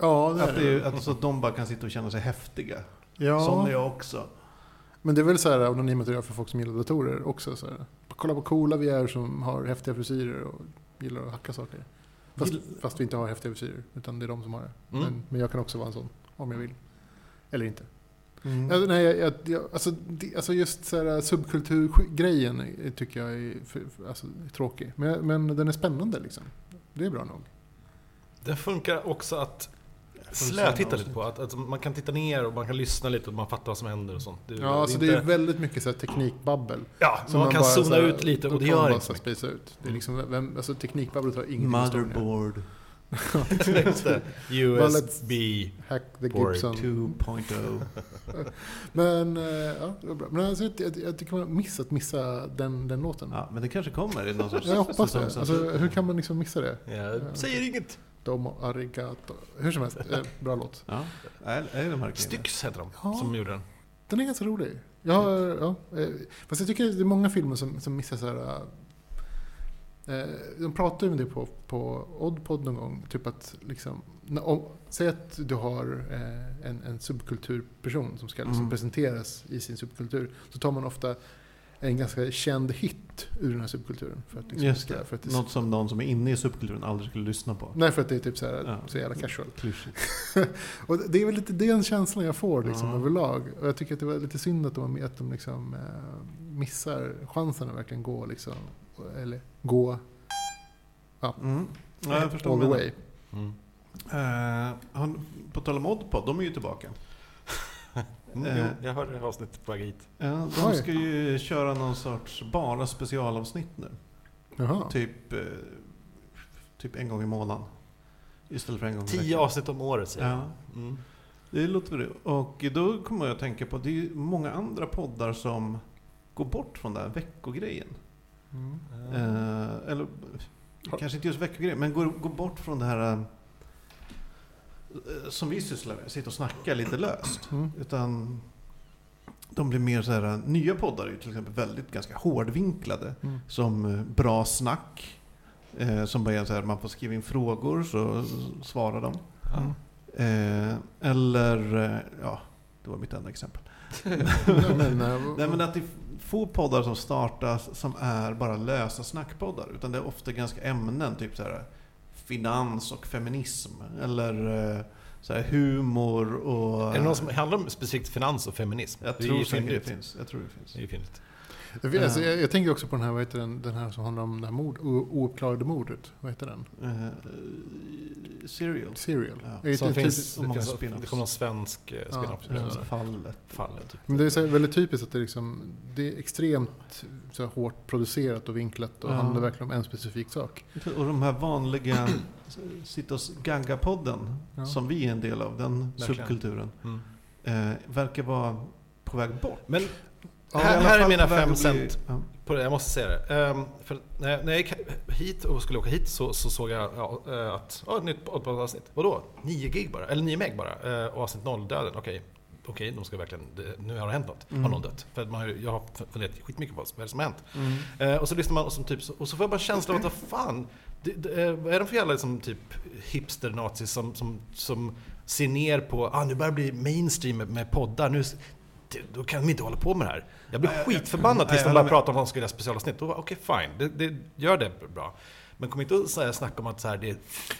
B: Ja, det
A: Att,
B: är
A: det är,
B: det.
A: att så att de bara kan sitta och känna sig häftiga. Sån är
B: Ja,
A: jag också.
B: men det är väl så här anonymt att göra för folk som gillar datorer också. Så här. Kolla vad coola vi är som har häftiga frisyrer och gillar att hacka saker. Fast,
A: Gill-
B: fast vi inte har häftiga frisyrer, utan det är de som har det.
C: Mm.
B: Men, men jag kan också vara en sån, om jag vill. Eller inte.
A: Mm.
B: Alltså, nej, jag, jag, jag, alltså, det, alltså just så här, subkulturgrejen är- tycker jag är för, för, alltså, är tråkig. Men, jag- men den är spännande liksom. Det är bra nog.
C: Det funkar också att slötitta lite på. Att, att man kan titta ner och man kan lyssna lite och man fattar vad som händer och sånt. Det-
B: Ja, alltså, det är väldigt mycket så här, teknikbabbel.
C: ja
B: som
C: man, kan
B: bara
C: zona
B: så här-
C: ut lite
B: då
C: och det
B: kan man
C: gör
B: bara
C: inte
B: så
C: så
B: här
C: mycket.
B: spisa ut. Det är liksom, vem, alltså, teknikbabbel tar ingenting med stången.
A: Motherboard
C: Just det. USB.
B: Hack the
C: Board
B: Gibson.
A: 2.0.
B: Men, eh, ja, det var bra. Men alltså, jag, jag, jag tycker man har missat missa den, den låten.
A: Ja, men det kanske kommer i någon sorts
B: Jag hoppas det.
A: säsongsavslut.
B: Alltså, hur kan man liksom missa det?
C: Jag säger inget.
B: Domo arigato. Hur som helst, eh, bra låt.
A: Ja, är, är det verkligen det?
C: Styx heter de
B: Ja.
C: som gjorde den.
B: Den är ganska rolig. Jag
A: Mm.
B: har, ja, eh, fast jag tycker det är många filmer som, som missar så här... Eh, de pratar ju om det på, på Oddpod någon gång. Typ att liksom, när- om, säg att du har eh, en, en subkulturperson som ska liksom
A: Mm.
B: presenteras i sin subkultur. Så tar man ofta en ganska känd hit ur den här subkulturen. För att, liksom,
A: Just det.
B: För att det
A: Något som de som är inne i subkulturen aldrig skulle lyssna på.
B: Nej, för att det är typ så, här,
A: Ja.
B: så jävla casual.
A: Klyschigt.
B: Och det är väl lite den känslan jag får liksom,
A: Ja.
B: överlag. Och jag tycker att det var lite synd att de, att de liksom, eh, missar chansen att verkligen gå, liksom, eller gå
A: Mm. Ja, jag förstår
B: all the
A: vad
B: way.
C: Mm.
A: du menar. Eh, han, på tal om Oddpod, de är ju tillbaka.
C: Mm,
A: Eh.
C: jo, jag hörde avsnittet på väg hit.
A: Eh, de
B: Oj.
A: ska ju köra någon sorts bara specialavsnitt nu.
B: Jaha.
A: Typ, eh, typ en gång i månaden. Istället för en gång i
C: Tio
A: veckan.
C: avsnitt om året säger jag.
A: Ja,
C: Mm.
A: det låter väl det. Och då kommer jag att tänka på, det är ju många andra poddar som går bort från den här veckogrejen.
B: Mm.
A: Eh, eller
B: Har-
A: kanske inte just veckogrejen, men går, går bort från det här eh, som vi sysslar med, sitta och snacka lite löst.
B: Mm.
A: Utan de blir mer så här, äh, nya poddar är ju till exempel väldigt ganska hårdvinklade.
B: Mm.
A: Som eh, Bra Snack, eh, som bara är så här, man får skriva in frågor så s- svarar de.
C: Ja.
A: Eh, eller, eh, ja, det var mitt enda exempel.
B: Nej, men, eh,
A: Nej men att det är få poddar som startas som är bara lösa snackpoddar. Utan det är ofta ganska ämnen, typ så här finans och feminism. Eller eh, så här humor och...
C: Är det någon som handlar om specifikt finans och feminism?
A: Jag
C: är
A: tror
C: ju
A: säkert det
C: fyndigt.
A: finns. Jag tror det finns.
C: Det är ju fyndigt.
B: Jag, vet,
A: eh.
B: alltså, jag, jag tänker också på den här, vad heter den, den här som handlar om det här mord, o- ouppklarade mordet. Vad heter den?
A: Eh, serial.
B: Serial.
A: Ja,
B: Det är
C: Som
B: typ-
C: finns,
A: och
C: det,
A: många
C: finns,
A: spin-offs.
C: det kommer någon svensk eh,
B: Ja,
C: spin-off.
B: ja.
C: Ja.
A: Fallet.
C: Fallet. Typ.
B: Men det är så här väldigt typiskt att det är, liksom, det är extremt så här, hårt producerat och vinklat och
A: Ja.
B: handlar verkligen om en specifik sak.
A: Och de här vanliga s- sitta och s- gagga-podden
B: Ja.
A: som vi är en del av, den
C: Verkligen.
A: subkulturen,
C: Mm.
A: eh, verkar vara på väg bort.
C: Men
B: Ja,
A: Eller i
C: här,
A: alla
C: här är
A: fall
C: mina
A: på väg
C: fem
A: att bli-
C: cent
A: ja.
C: på det, jag måste säga det. Ehm, för när, jag, när jag gick hit och skulle åka hit så, så såg jag ja, eh, att, ja, ett nytt poddavsnitt. Vadå? 9 gig bara, eller 9 meg bara. Eh, Och avsnitt 0, döden, okej. Okej, de ska verkligen, det, nu har det hänt något. Har
A: Mm.
C: någon dött? För att man, har ju- jag har funderat skitmycket på vad som- vad är det som har hänt.
A: Mm.
C: Eh, och så lyssnar man och, som typ, så- och så får jag bara känslan av att vad fan, det, det, eh, vad är de för jävla liksom, typ hipster-nazis som, som, som ser ner på, ah, nu börjar det bli mainstream med, med poddar, nu, s- det, då kan de inte hålla på med det här. Jag blir
A: Nej, jag-
C: skitförbannad
A: nej,
C: tills
A: jag
C: de
A: håller
C: börjar
A: med.
C: prata om att de ska göra specialavsnitt. Då bara, okej fine, det, det, gör det bra. Men kom inte och så här snacka om att så här, det är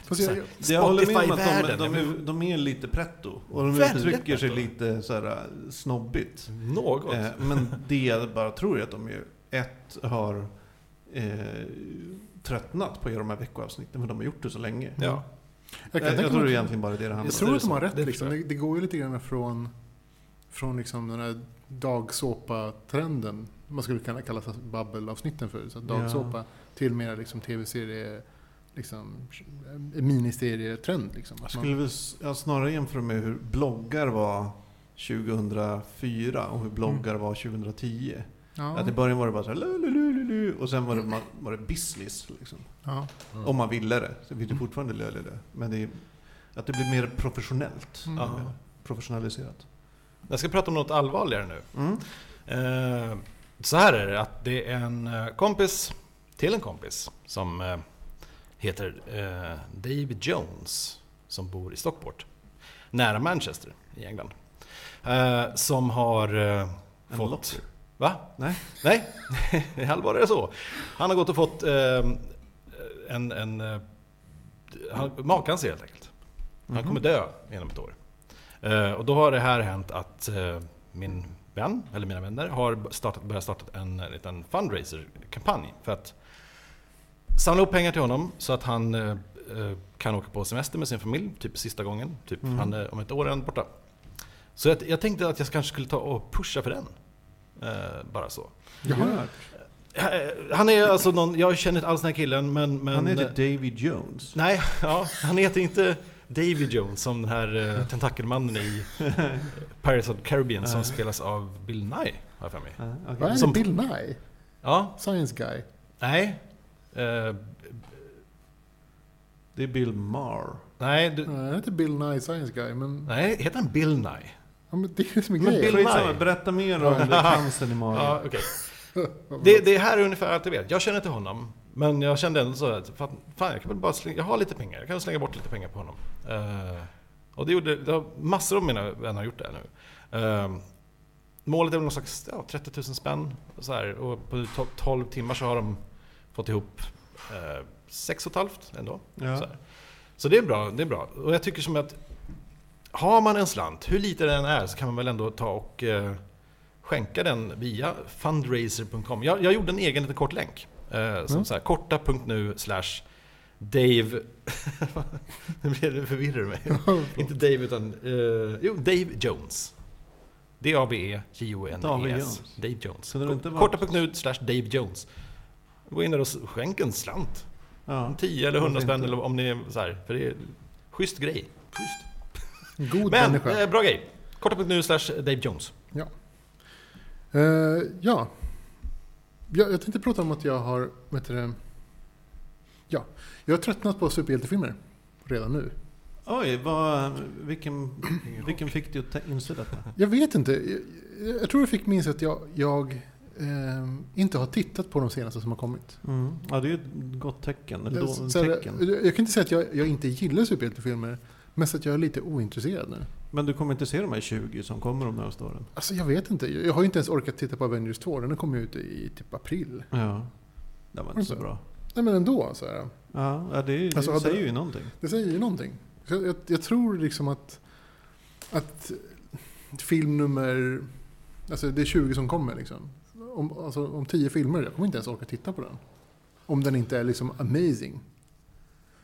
B: Fast
C: så
B: jag-
C: här,
A: Det jag håller med om att de,
C: Spotify-världen.
A: de,
C: Jag
A: är, de är lite pretto. Och de
C: Väldigt
A: uttrycker sig
C: pretto.
A: lite så här, eh, snobbigt.
C: blir- Något.
A: Eh, men det jag bara tror är att de ju, ett, har eh, tröttnat på att göra de här veckoavsnitten, för de har gjort det så länge. Jag,
C: Ja.
B: kan
A: jag,
B: tänka
A: tror
B: mig-
A: egentligen bara det det
B: Jag
A: handlar om.
B: tror
C: det
B: att de har
C: så.
B: rätt.
C: Det
B: Det, liksom.
C: förstår
B: det, det går ju lite grann från, från liksom den här dagsåpa-trenden. Man skulle kunna kalla det babbelavsnitten för. Så att
A: Ja.
B: dagsåpa till mer liksom tv-serie, liksom, eh, ministerietrend. Liksom.
A: Jag
B: Att man,
A: skulle väl s- ja, snarare jämföra med hur bloggar var 2004 och hur bloggar var 2010. Att i
B: Mm. ja,
A: början var det bara så här, "Lu, lu, lu, lu, lu", och sen var det, ma- var det business. Liksom.
B: ja.
C: Mm.
A: Om man ville det. Så
B: Mm.
A: vill det fortfarande lö, lö, lö. Men det är, att det blir mer professionellt.
B: Mm.
A: jag menar. Professionaliserat.
C: Jag ska prata om något allvarligare nu.
A: Mm.
C: Eh, Så här är det att det är en eh, kompis till en kompis som eh, heter eh, David Jones som bor i Stockport. Nära Manchester i England. Eh, Som har eh,
A: En
C: fått...
A: lotter.
C: Va?
A: Nej.
C: Nej, allvarligare så. Han har gått och fått eh, en... en eh, han, makan ser helt enkelt. Han
A: Mhm.
C: kommer dö inom ett år. Eh, och då har det här hänt att eh, min vän, eller mina vänner, har startat, börjat starta en eh, liten fundraiser-kampanj för att samla upp pengar till honom så att han eh, eh, kan åka på semester med sin familj, typ sista gången. Typ
A: Mm.
C: han är om ett år är han borta. Så jag, jag tänkte att jag kanske skulle ta och pusha för den. Eh, bara så.
B: Jaha.
C: Eh, Han är alltså någon, jag känner inte alls den här killen men... men
A: Han typ heter David Jones.
C: Nej, ja, han heter inte David Jones som den här eh, tentakelmannen i Pirates of the Caribbean som
A: Nej.
C: spelas av Bill Nye, har jag för mig.
A: Ja, Ah, okej.
B: Vad är
C: Som-
B: det? Bill Nye?
C: Ja,
B: Science Guy?
C: nej. Eh,
A: Det är Bill Maher.
C: nej, du,
B: Nej, han heter Bill Nye Science Guy, men,
C: nej, heter han Bill Nye?
B: ja, men det är ju som är
A: Men
B: grejen.
C: Bill
A: skitsamma,
C: Nye.
A: berätta mer om det, cancern i
C: Ja,
A: magen.
C: okej. Det, det här är ungefär allt jag vet. Jag känner inte honom, men jag kände ändå så att fan, fan jag kan väl bara slänga, jag har lite pengar, jag kan slänga bort lite pengar på honom. Eh, och det gjorde, det har, massor av mina vänner har gjort det här nu. Eh, målet är väl någon slags ja, 30 000 spänn och så här, och på to- 12 timmar så har de fått ihop eh, 6 och ett halvt ändå.
A: Ja.
C: Så, här. så det är bra, det är bra. Och jag tycker som att har man en slant, hur lite den är, så kan man väl ändå ta och eh, skänka den via fundraiser.com. Jag, jag gjorde en egen liten kort länk. Eh, som
B: Mm.
C: så här, korta.nu slash Dave... nu blev det förvirrar du mig. Inte Dave utan... Eh, jo, Dave Jones. E
A: Dave
C: D-A-V-E-J-O-N-E-S.
A: Jones.
C: Dave Jones.
A: Så det har inte varit-
C: Korta.nu slash Dave Jones. Gå in där och s- skänk en slant.
A: Ja.
C: 10 eller 100
A: Varför
C: spänn
A: inte?
C: eller om ni är så här. För det är schysst grej. Schysst.
B: God
C: Men,
B: människa.
C: eh, bra grej. Korta.nu slash Dave Jones.
B: Eh, ja. ja. Jag tänkte prata om att jag har... Vad heter det? Ja. Jag har tröttnat på superhjältefilmer redan nu.
A: Oj, vad, vilken, vilken fick dig att ta- inse detta?
B: Jag vet inte. Jag, jag tror jag fick minst att jag, jag ehm, inte har tittat på de senaste som har kommit.
A: Mm. Ja, det är ju ett gott tecken. Eller
B: Så-
A: då,
B: så här,
A: tecken.
B: jag, jag kan inte säga att jag, jag inte gillar superhjältefilmer. Mest att jag är lite ointresserad nu.
A: Men du kommer inte se de här 20 som kommer de närmaste åren?
B: Alltså jag vet inte. Jag jag har ju inte ens orkat titta på Avengers 2. Den kom ju ut i typ april.
A: Ja. Det var inte så bra.
B: Nej men ändå. Så här.
A: Ja, ja, det, det
B: Alltså, hade-
A: säger ju någonting.
B: Det säger ju någonting. Så jag, jag, jag tror liksom att, att film nummer... Alltså det är 20 som kommer liksom. om, alltså, om tio filmer, jag kommer inte ens orka titta på den. Om den inte är liksom amazing.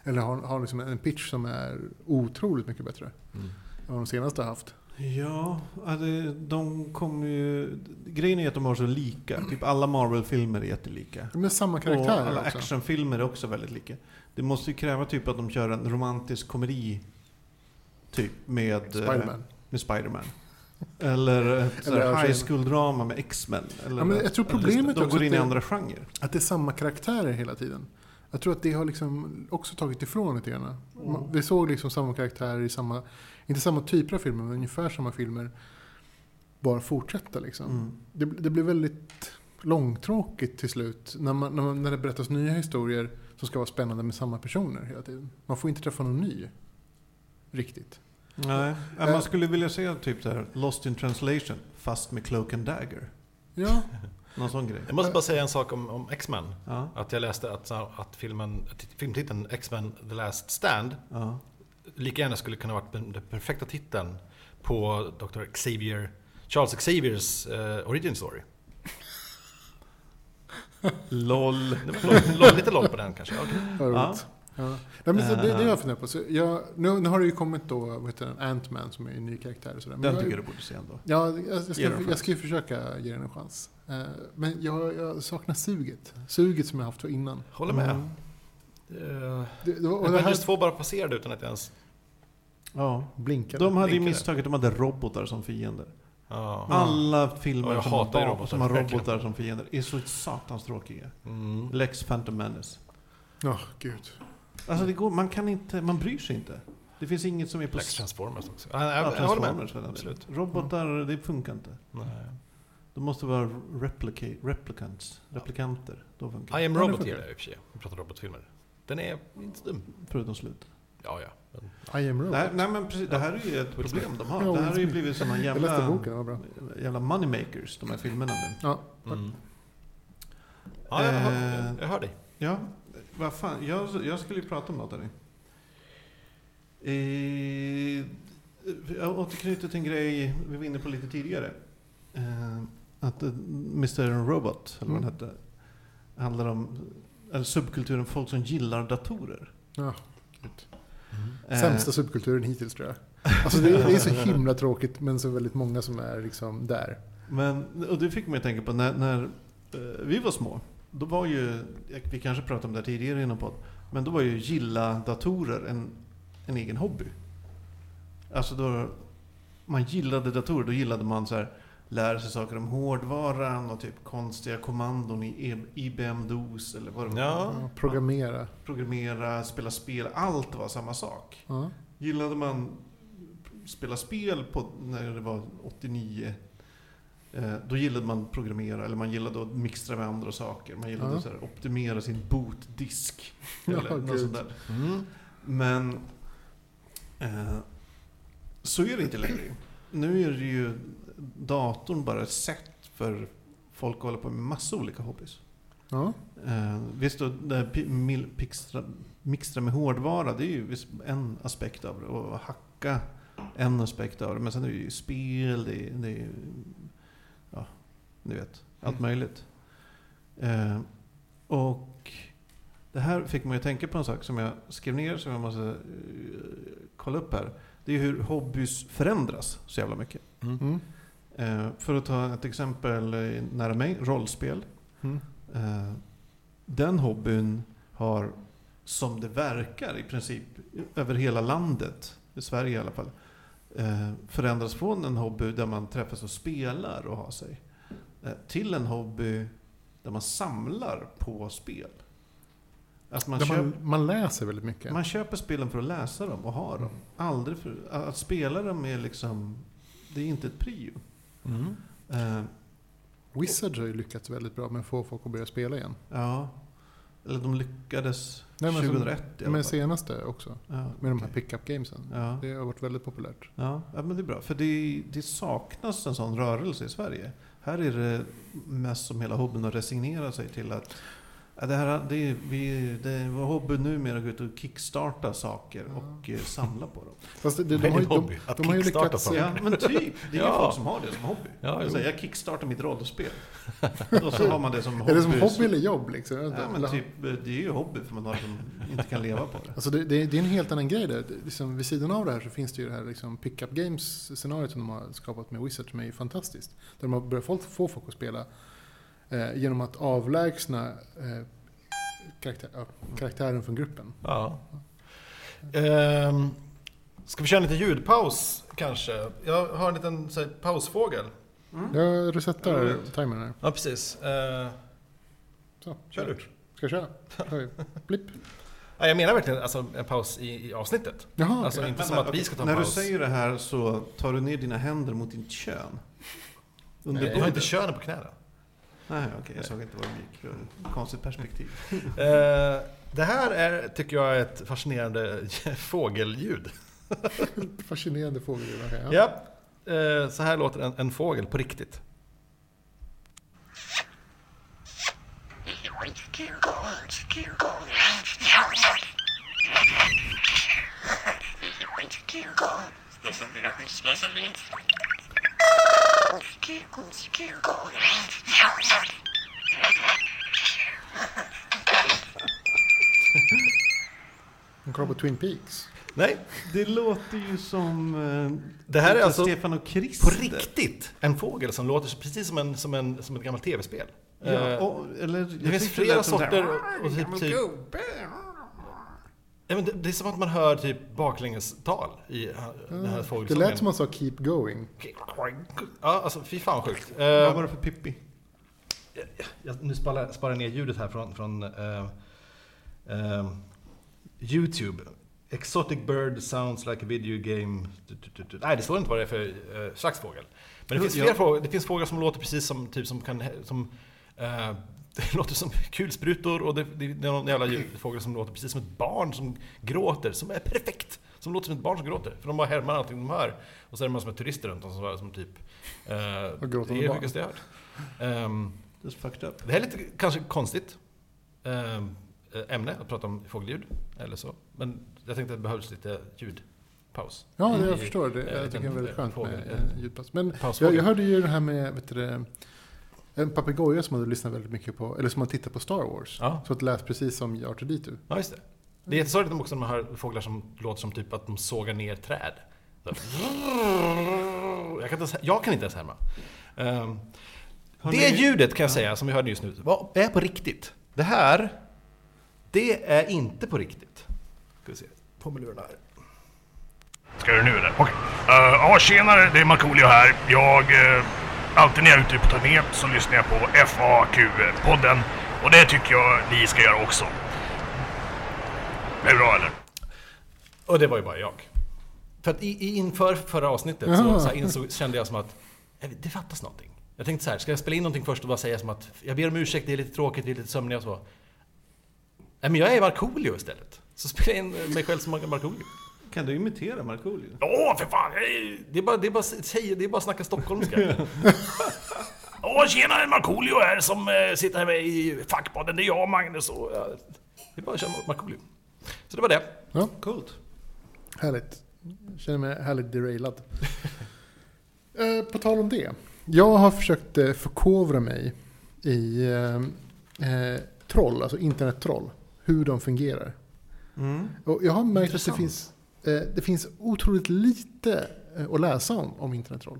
B: Eller har, har liksom en pitch som är otroligt mycket bättre än vad de senaste har haft.
A: Ja, ja, det- de kommer ju... Grejen är att de har så lika. Typ alla Marvel-filmer är jättelika.
B: De är samma
A: Och
B: karaktär
A: alla
B: också.
A: actionfilmer är också väldigt lika. Det måste ju kräva typ att de kör en romantisk komedi. Typ med eh,
B: Spiderman.
A: Med Spiderman. Eller ett så här
B: Eller- alltså-
A: high school-drama med X-Men. Eller
B: Ja, men jag tror problemet
A: De
B: också
A: går in
B: att
A: i
B: det-
A: andra genrer.
B: Att det är samma karaktärer hela tiden. Jag tror att det har liksom också tagit ifrån lite grann.
A: Mm.
B: Man- Vi såg liksom samma karaktärer i samma, inte samma typer av filmer, men ungefär samma filmer. Bara fortsätta liksom.
A: Mm.
B: det, det blir väldigt långtråkigt till slut när, man, när, man, när det berättas nya historier som ska vara spännande med samma personer hela tiden. Man får inte träffa någon ny. Riktigt.
A: Nej, ja,
B: Eh.
A: man skulle vilja se typ så här Lost in translation fast med Cloak and Dagger.
B: Ja,
A: Någon sån grej.
C: Jag måste bara säga en sak om, om X-Men.
A: Ja,
C: Att jag läste att, att filmen, att filmtiteln X-Men The Last Stand
A: ja.
C: lika gärna skulle kunna varit den, den perfekta titeln på Dr. Xavier, Charles Xaviers eh, origin story.
A: LOL.
C: Det var lång- lång- Lite lång på den kanske. Okej.
B: vad
A: Ja.
B: roligt. Ja. Nej, men så, det, det har jag funderat på. Så jag, nu, nu har det ju kommit då, vad heter den, Ant-Man som är en ny karaktär och sådär. Men
A: Den
B: jag-
A: tycker jag du borde se ändå.
B: Ja, jag, jag, ska,
A: Ge den en
B: jag ska ju försöka ge den en chans. Eh, Men jag, jag saknar suget. Suget som jag haft för innan.
C: Håller med.
A: Mm.
C: Eh,
B: Det, det, och det här
C: Avengers 2 bara passerade utan att jag ens...
A: Ja.
B: blinkade.
A: De hade ju
C: Blinkade.
A: misstaget att de hade robotar som fiender.
C: Ja.
A: Alla
C: Ja,
A: filmer
C: jag
A: som,
C: hatar ju
A: har,
C: robotar,
A: som har
C: verkligen.
A: robotar som fiender är så satans tråkiga.
C: Mm.
A: Lex Phantom Menace.
B: Ja, gud.
A: Alltså det går, man kan inte, man bryr sig inte. Det finns inget som är på...
C: Lex
A: s-
C: Transformers också. Ja, jag,
A: Ja,
C: jag, jag håller med.
A: Transformers för den delen.
C: Absolut. Mm.
A: Robotar, det funkar inte.
C: Nej.
A: De måste vara replica- replicants, replikanter. Då funkar det.
C: I am
B: Ja, det
C: Robot
B: funkar.
C: gillar jag i och för sig. Vi pratar robotfilmer. Den är inte så dum.
A: Förutom slut.
C: Ja, ja. Men,
B: I am Robot.
A: Nej, nej men precis, det här är ju ett problem de har.
B: Ja,
A: Det här har ju
B: Smith.
A: blivit såna
B: Jag läste
A: jävla,
B: boken, det var bra.
A: jävla moneymakers, de här filmerna nu.
B: Ja,
C: mm. ja, jag, hör,
A: Eh.
C: jag hör dig.
A: Ja, vad fan. Jag, jag skulle ju prata om något Harry. Eh, jag återknyter till en grej vi var inne på lite tidigare. Eh, att eh, Mr. Robot, eller vad
B: Mm.
A: han hette, handlar om eller subkulturen folk som gillar datorer.
B: Ja,
A: Eh,
B: Sämsta subkulturen hittills tror jag. Alltså det, är- det är så himla tråkigt men så väldigt många som är liksom där.
A: Men, och det fick mig att tänka på när, när eh, vi var små. Då var ju, eh, vi kanske pratade om det här tidigare i någon podd, men då var ju gilla datorer en, en egen hobby. Alltså då man gillade datorer, då gillade man så här lära sig saker om hårdvaran och typ konstiga kommandon i E- IBM-DOS eller vad det var.
C: Ja.
B: Ja, programmera.
A: Programmera, spela spel, allt var samma sak.
B: Ja.
A: Gillade man spela spel på, när det var 89, eh, då gillade man programmera, eller man gillade att mixtra med andra saker. Man gillade
B: Ja.
A: att så här, optimera sin bootdisk.
B: Ja,
A: Eller något
B: gud.
A: sånt där. Men eh, så är det inte längre. Nu är det ju datorn bara ett sätt för folk att hålla på med massa olika hobbys.
B: Ja.
A: Eh, visst, då, det här pi- mil- pixtra, mixtra med hårdvara, det är ju visst en aspekt av det. Och hacka, en aspekt av det. Men sen är det ju spel, det är, det är ja, ni vet, allt möjligt. Eh, och det här fick mig att tänka på en sak som jag skrev ner, som jag måste eh, kolla upp här. Det är hur hobbys förändras så jävla mycket.
B: Mm.
A: Eh, för att ta ett exempel eh, nära mig, rollspel.
B: Mm.
A: Eh, den hobbyn har, som det verkar i princip, över hela landet, i Sverige i alla fall, eh, förändrats från en hobby där man träffas och spelar och har sig, eh, till en hobby där man samlar på spel. Att man,
B: Där
A: köper,
B: man, man läser väldigt mycket.
A: man köper spelen för att läsa dem och ha
B: Mm.
A: dem. Aldrig för, att spela dem är liksom, det är inte ett prio.
C: Mm.
A: Eh,
B: Wizards har ju lyckats väldigt bra med att få folk att börja spela igen.
A: ja, eller de lyckades
B: Nej, men som-
A: 2001 i alla
B: Men
A: fall.
B: senaste också.
A: Ja,
B: Med de här
A: okej.
B: pickup gamesen.
A: Ja,
B: Det har varit väldigt populärt.
A: ja, ja, men det är bra. För det, det saknas en sån rörelse i Sverige. Här är det mest som hela hobbyn att resignera sig till att Ja, Det, här, det, är- vi, det är vår hobby numera att gå ut och kickstarta saker
B: Ja.
A: och eh, samla på dem.
B: Fast det,
C: Det
B: de,
C: är
B: har
C: en
B: ju, de,
C: hobby. Att
B: Mm. de har ju
C: kickstarta
B: lyckats-
C: saker.
A: Ja, men typ. Det är ju
C: Ja.
A: folk som har det som hobby.
C: Ja,
A: jag,
C: jo.
A: säger, jag kickstartar mitt rollspel. Och så har man det som hobby.
B: är det som hobby eller jobb liksom? Jag vet inte.
A: Ja, men typ, eh, det är ju hobby för man har liksom inte kan leva på det.
B: Alltså det, det, är- det är en helt annan grej där. Det- Liksom, vid sidan av det här så finns det ju det här liksom, pick-up games-scenariot som de har skapat med Wizard som är ju fantastiskt. Där de har börjat folk, få folk att spela eh, genom att avlägsna eh, karaktär, ja, karaktären från gruppen.
C: Ja. Ehm, ska vi köra en liten ljudpaus kanske? Jag har en liten så här, pausfågel.
A: Mm.
B: Jag resetar timern här.
C: Ja, precis. Eh,
B: Så,
C: kör du.
B: Ska jag köra? Oj, Blipp.
C: Ja, jag menar verkligen alltså, en paus i, i avsnittet.
B: Jaha,
C: Alltså
B: okej.
C: inte
A: Men-
C: som
A: men,
C: att vi
A: okej,
C: ska ta en
A: När
C: paus.
A: du säger det här så tar du ner dina händer mot ditt kön. Under
B: Nej,
C: Jag har inte
A: bordet.
C: könen på knäna.
A: Nej, okej. jag såg inte var de gick. Det var ett Konstigt perspektiv.
C: Eh, det här är, tycker jag är ett fascinerande fågelljud.
B: Fascinerande fågelliv. okej,
C: Ja.
B: ja.
C: Eh, så här låter en, en fågel på riktigt.
B: De kollar på Twin Peaks.
C: Nej,
A: Det låter ju som eh,
C: det här är
A: lite
C: alltså
A: Stefan och Christer.
C: på riktigt en fågel som låter precis som, en, som, en, som ett gammalt tv-spel.
A: Ja,
C: Eh,
A: och, eller, jag
C: det finns
A: tyckte
C: flera
A: lät som
C: sorter
A: så här,
C: och- och typ- typ- ja, men det, det är som att man hör typ baklängestal i eh, den här
B: Det
C: fågelsången.
B: lät som man sa Keep Going.
C: Ja, alltså fy fan sjukt. Eh,
A: Vad var det för Pippi?
C: jag, nu sparar sparar jag ner ljudet här från, från eh, eh, YouTube. Exotic bird sounds like a video game. Du, du, du, du. Nej, det står inte vad det är för eh, slags fågel. Men det
A: Jo,
C: finns,
A: ja.
C: fler fågel, det finns fåglar som låter precis som, typ, som, kan, som eh, det låter som kulsprutor och det, det, det är någon jävla ljud- fågel som låter precis som ett barn som gråter, som är perfekt. Som låter som ett barn som gråter, för de bara härmar allting de hör. Och så är det massor med turister runt om som, som typ... Eh,
B: Och gråter
C: det är det
B: barn.
C: sjukaste jag hört. Ehm,
A: Just fucked up.
C: det här är lite kanske konstigt eh, ämne att prata om fågelljud eller så. Men jag tänkte att det behövs lite ljudpaus.
B: Ja, det
C: I-
B: jag förstår det.
C: eh,
B: Jag tycker det är väldigt
C: en
B: skönt
C: fågel,
B: med
C: en
B: eh, ljudpaus. Men jag,
C: Pausfågel.
B: jag hörde ju det här med vet du, det, en papegoja som hade lyssnat väldigt mycket på, eller som hade tittat på Star Wars.
C: Ja.
B: Så att det lät precis som R2D2.
C: ja, just det. Det är jättesorgligt också när man hör fåglar som låter som typ att de sågar ner träd. Så. Jag, kan inte ens, jag kan inte ens härma. Eh,
A: Har
C: det
A: ni-
C: ljudet kan jag säga, som vi hörde just nu, var, är på riktigt. Det här, det är inte på riktigt. Ska vi se, på med lurarna här.
D: Ska du nu eller? Okej. Eh, ja, tjenare. Det är Markoolio här. Jag... eh, alltid när jag är ute på turné så lyssnar jag på FAQ-podden. Och det tycker jag ni ska göra också. Är det bra eller?
C: Och det var ju bara jag. För att i, i, inför förra avsnittet så,
B: Jaha.
C: så här insåg, kände jag som att eh, det fattas någonting. Jag tänkte så här, ska jag spela in någonting först och bara säga som att jag ber om ursäkt, det är lite tråkigt, vi är lite sömniga och så. Nej men jag är Markoolio istället. Så spelar jag in mig själv som Markoolio.
A: Kan du imitera Markoolio?
D: Åh, för fan! hej!
C: Det är bara, det är bara, säga, det är bara att snacka stockholmska.
D: Åh, tjenare! Markoolio här som eh, sitter här med i fackpodden. Det är jag, Magnus och... eh,
C: Det är bara att köra Markoolio. Så det var det.
B: Ja,
A: Coolt.
B: härligt. Jag känner mig härligt derailad. eh, på tal om det. Jag har försökt eh, förkovra mig i eh, eh, troll, alltså internettroll. Hur de fungerar.
A: Mm.
B: Och jag har märkt att det
C: Intressant.
B: finns, eh, det finns otroligt lite eh, att läsa om, om internettroll.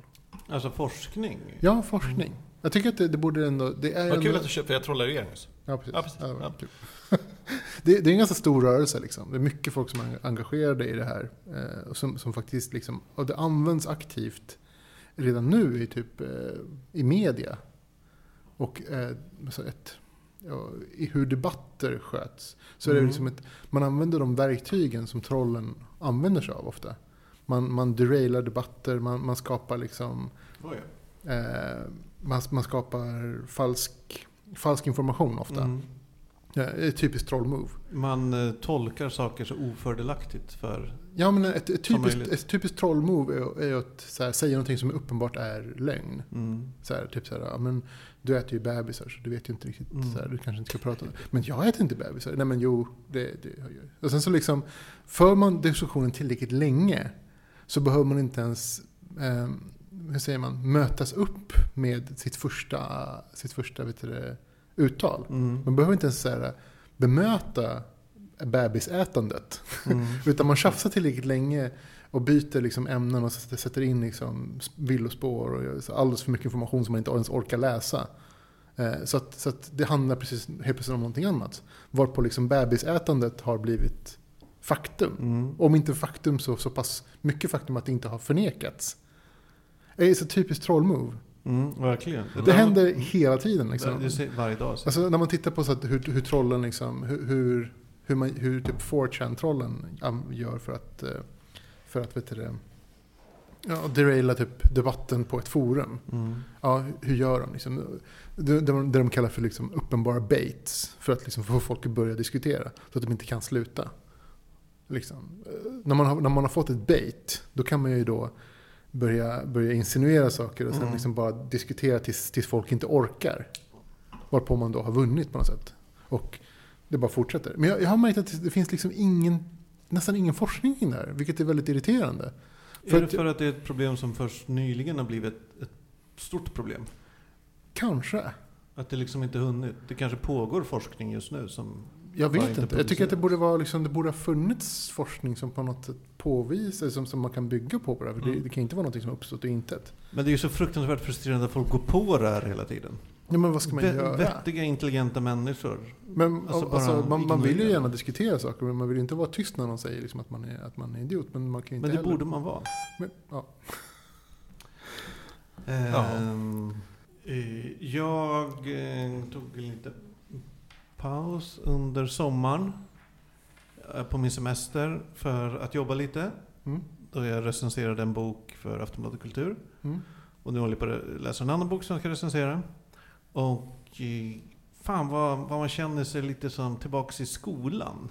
A: Alltså forskning.
B: Ja, forskning. Jag tycker att det, det borde ändå... Det är
C: Mm. Vad kul
B: ändå,
C: att du köpte, för jag trollade ju er nyss.
B: Ja, precis.
C: Ja, precis.
B: Ja, det, var
C: Ja.
B: kul. det, det är en ganska stor rörelse. Liksom. Det är mycket folk som är engagerade i det här. Eh, och som, som faktiskt liksom, och det används aktivt redan nu i, typ, eh, i media. Och eh, så ett, ja, i hur debatter sköts. Så är det
A: Mm.
B: liksom ett, man använder de verktygen som trollen använder sig av ofta. Man, man derailar debatter, man, man skapar liksom...
A: Oj.
B: Eh, man, man skapar falsk, falsk information ofta.
A: Mm.
B: Ja, ett typiskt trollmove.
A: Man eh, tolkar saker så ofördelaktigt för...
B: Ja, men ett, ett,
A: Som
B: typiskt,
A: möjligt.
B: ett typiskt trollmove är, är att så här, säga någonting som uppenbart är lögn.
A: Mm.
B: Så här, typ så här, ja, men du äter ju bebisar så du vet ju inte riktigt,
A: Mm.
B: så här, du kanske inte ska prata om det. Men jag äter inte bebisar. Nej men jo, det, det jag gör Och sen så liksom, för man diskussionen tillräckligt länge så behöver man inte ens, eh, hur säger man, mötas upp med sitt första, sitt första vet du, det, uttal.
A: Mm.
B: Man behöver inte ens så här, bemöta bebisätandet.
A: Mm.
B: Utan man tjafsar tillräckligt länge och byter liksom ämnen och s- sätter in liksom villospår och gör så alldeles för mycket information som man inte ens orkar läsa. Eh, Så att, så att det handlar precis, helt plötsligt om någonting annat. Varpå liksom bebisätandet har blivit faktum.
A: Mm.
B: Om inte faktum så så pass mycket faktum att det inte har förnekats. Det är så typiskt trollmove.
A: Mm, verkligen.
B: Det
A: där-
B: händer hela tiden. Liksom.
A: Det ser varje dag. ser-
B: Alltså när man tittar på så att hur, hur trollen liksom, hur, hur, hur, man, hur typ 4chan-trollen am- gör för att, eh, för att vet du det, ja, deraila typ debatten på ett forum.
A: Mm.
B: Ja, hur gör de? Liksom, det, det, de- det de kallar för liksom uppenbara baits för att liksom få folk att börja diskutera så att de inte kan sluta. Liksom. eh, När, man har, när man har fått ett bait, då kan man ju då börja, börja insinuera saker och sen
A: Mm.
B: liksom bara diskutera tills, tills folk inte orkar. Varpå man då har vunnit på något sätt. Och det bara fortsätter. Men jag, jag har märkt att det finns liksom ingen, nästan ingen forskning kring det här, vilket är väldigt irriterande.
A: är
B: För
A: det
B: att-
A: för att det är ett problem som först nyligen har blivit ett, ett stort problem?
B: Kanske.
A: Att det liksom inte hunnit. Det kanske pågår forskning just nu som...
B: Jag
A: Bara
B: vet
A: inte
B: inte. Jag tycker att det
A: publicerat.
B: borde, vara, liksom, det borde ha funnits forskning som på något sätt påvisar, som, som man kan bygga på. på det, här. För det,
A: Mm.
B: det kan inte vara något som uppstått ur intet.
A: Men det är ju så fruktansvärt frustrerande att folk går på det här hela tiden.
B: Ja, men vad ska man
A: Ve-
B: göra?
A: Vettiga, intelligenta människor.
B: Men,
A: Alltså,
B: alltså,
A: bara
B: man, man vill ju
A: ignorera.
B: gärna diskutera saker, men man vill ju inte vara tyst när någon säger liksom, att, man är, att man är idiot. Men man kan ju inte
A: Men det
B: heller.
A: borde man vara.
B: Men, ja.
A: Ehm, eh, Jag eh, tog en liten paus under sommaren eh, på min semester för att jobba lite.
B: Mm.
A: Då jag recenserade en bok för Aftonbladet Kultur.
B: Mm.
A: Och nu håller jag på att läsa en annan bok som jag ska recensera. Och eh, fan vad, vad man känner sig lite som tillbaks i skolan.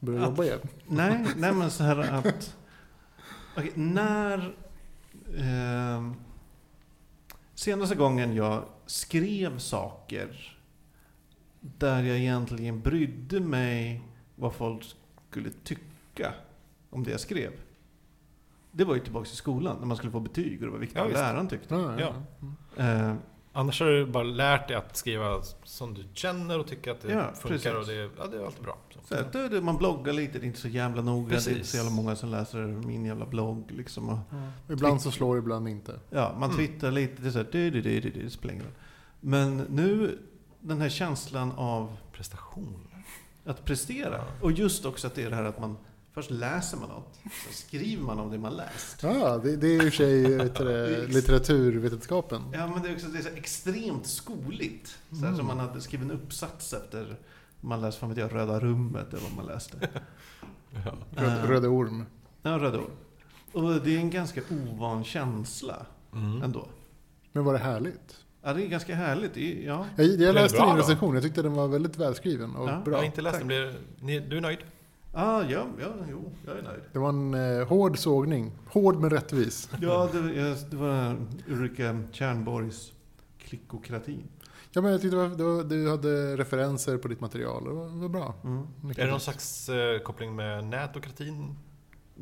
B: Börja
A: Att-
B: jobba igen.
A: Nej, nej men så här att... Okej, när... ehm, senaste gången jag skrev saker där jag egentligen brydde mig vad folk skulle tycka om det jag skrev. Det var ju tillbaka i skolan när man skulle få betyg och det var viktigt
C: Ja,
A: vad
C: visst.
A: läraren tyckte.
B: Ja, ja.
C: Ja.
B: Mm.
A: Eh,
C: Annars har du bara lärt dig att skriva som du känner och tycker att det
A: Ja,
C: funkar.
A: precis.
C: Och det, ja, det är alltid bra.
A: Så här, det- det- man bloggar lite, det är inte så jävla noga. Det är inte
C: Precis.
A: så jävla många som läser min jävla blogg. Liksom. Och,
B: Ibland så slår, ibland inte.
A: ja, man
C: Mm.
A: twittrar lite, det, är så här, du, du, du, du, du, det spelar ingen roll. Men nu, den här känslan av
C: Prestation.
A: att prestera. Och just också att det är det här att man först läser man något, sen skriver man om det man läst.
B: Ja, det, det är i och för sig vet du det, litteraturvetenskapen.
A: Ja, men det är också det är så här extremt skoligt. Så här, Som man hade skrivit en uppsats efter man läste, fan vet jag, Röda rummet eller vad man läste.
C: Ja.
B: Röd, Röda orm.
A: Ja, Röda Orm. Och det är en ganska ovan känsla ändå.
B: Men var det härligt?
A: Ja, det är ganska härligt. Det är- Ja.
B: Jag, jag
C: det
B: läste
C: bra
B: din
C: då?
B: recension, jag tyckte den var väldigt välskriven och
A: Ja.
C: Jag har
B: bra.
C: inte läst
A: tack.
C: den. Blir, ni, du är nöjd?
A: Ah, ja, ja, jo, jag är nöjd.
B: Det var en eh, hård sågning, hård men rättvis.
A: Ja, det, jag- det var Ulrika Tjernborgs klickokratin.
B: Ja, men jag tyckte det var, det var, du hade referenser på ditt material, det var, det var bra.
A: Mm.
C: Är det någon slags eh, koppling med nätokratin?